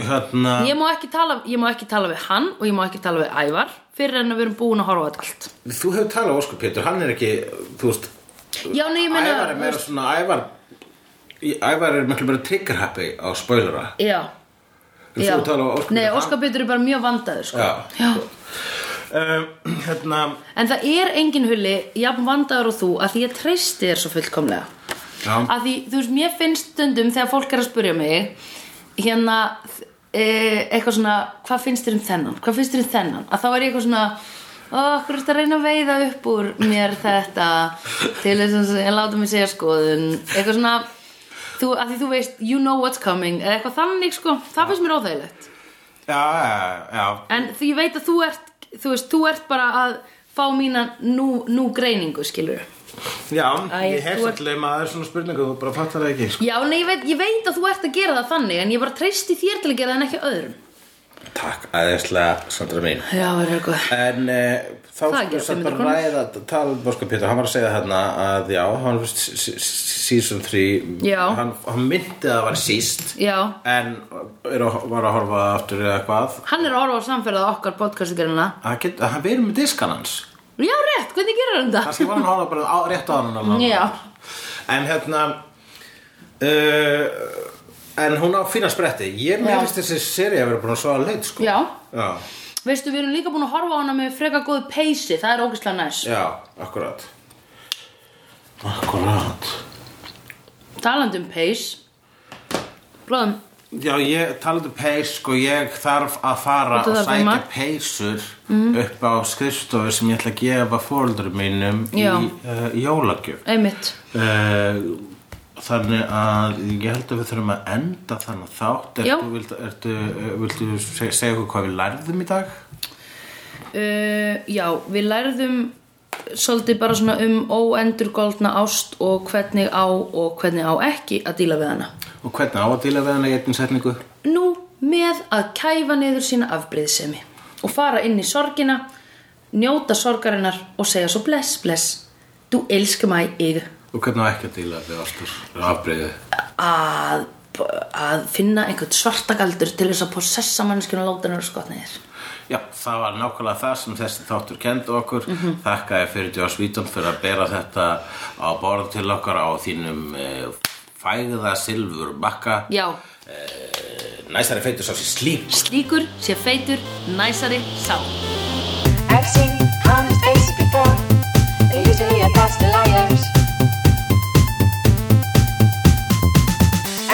S1: hérna...
S2: ég má, ekki tala, ég má ekki tala við hann og ég má ekki tala við Ævar fyrir en að við erum búin að horfa á þetta allt
S1: Þú hefur talað um Óskar Pétur, hann er ekki, þú veist,
S2: Já, nei, ég meina
S1: Ævar er meira svona, Ævar... í- Ævar er miklu meira trigger happy á spoilera.
S2: Já,
S1: Þú
S2: já
S1: hefur talað um Óskar
S2: Nei,
S1: Pétur,
S2: Óskar Pétur er bara mjög vandaður sko
S1: hann- Já. Um, hérna...
S2: En það er engin hulli, jafn vandaður og þú að því ég treysti þér svo fullkomlega
S1: Já.
S2: að því, þú veist, mér finnst stundum þegar fólk er að spurja mig hérna, e, eitthvað svona hvað finnst þér um þennan, hvað finnst þér um þennan að þá er ég eitthvað svona ó, hvað er þetta að reyna að veiða upp úr mér þetta til þess að ég láta mig segja skoðun eitthvað svona þú, að því þú veist, you know what's coming eða eitthvað þannig, sko, það finnst mér óþægilegt
S1: Já, já, já.
S2: en því ég veit að þú ert þú veist, þú ert bara að fá mína nú, nú greiningu, skilur
S1: Já,
S2: Æ,
S1: ég hef
S2: þú ert-
S1: svolítið maður svona spurningu, þú bara fattar það ekki, sko.
S2: Já, nei, ég veit, ég veit að þú ert að gera það þannig en ég bara treysti þér til að gera það en ekki öðrum
S1: Takk, aðeinslega, Sandra mín.
S2: Já, það er eitthvað
S1: En e, þá
S2: Það
S1: sko
S2: gera
S1: sem bara
S2: 500 krónur.
S1: ræða tala um Óskar Pétur, hann var að segja þarna að já, hann var s- s- season 3
S2: Já.
S1: hann, hann myndi að það var síst
S2: Já,
S1: en er að, var að horfa aftur eða hvað
S2: hann er að orfa á samferðað okkar podcastgerina
S1: hann, get, hann verið með diskan hans
S2: Já, rétt, hvernig gerir hann það?
S1: kannski var hann að horfa bara á, rétt á hann alveg.
S2: Já.
S1: en hérna uh, en hún á fína spretti
S2: Já.
S1: ég mér finnst þessi seri að vera búin að svo að leit sko.
S2: Já,
S1: já,
S2: veistu, við erum líka búin að horfa á hana með freka góðu peysi, það er ógeðslega næs
S1: já, akkurat akkurat
S2: Talandi um peys Blóðum,
S1: Já, ég talandi um peys sko, ég þarf að fara
S2: Þú þarf
S1: og
S2: að
S1: sækja
S2: fara.
S1: peysur
S2: Mm.
S1: upp á skrifstofu sem ég ætla að gefa fóreldurum mínum
S2: Já.
S1: í uh, jólagjöf
S2: einmitt
S1: uh, Þannig að ég held að við þurfum að enda þannig þátt
S2: Já.
S1: Ertu, viltu, ertu, eh, viltu seg, segja okkur hvað við lærðum í dag?
S2: uh, Já, við lærðum svolítið bara svona um óendurgoldna ást og hvernig á og hvernig á ekki að díla við hana
S1: Og hvernig á að díla við hana í einnig setningu?
S2: Nú með að kæfa niður sína afbreyðsemi og fara inn í sorgina, njóta sorgarinnar og segja svo bless, bless, þú elskar mig yfir
S1: Og hvernig á ekki að díla við ástur afbreyðu?
S2: að, að finna einhvern svartagaldur til þess að possessa mannskjuna láta hennar skotniðir.
S1: Já, það var nákvæmlega það sem þessi þáttur kendi okkur. Mm -hmm. Þakka ég fyrir Joss Vítón fyrir að bera þetta á borð til okkar á þínum e, fæða silfur bakka.
S2: Já,
S1: Næsari feitur sá sér slím.
S2: slíkur sé feitur, næsari sá.
S4: I've seen honest faces before. They're usually a pass to liars.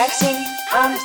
S4: I've seen honest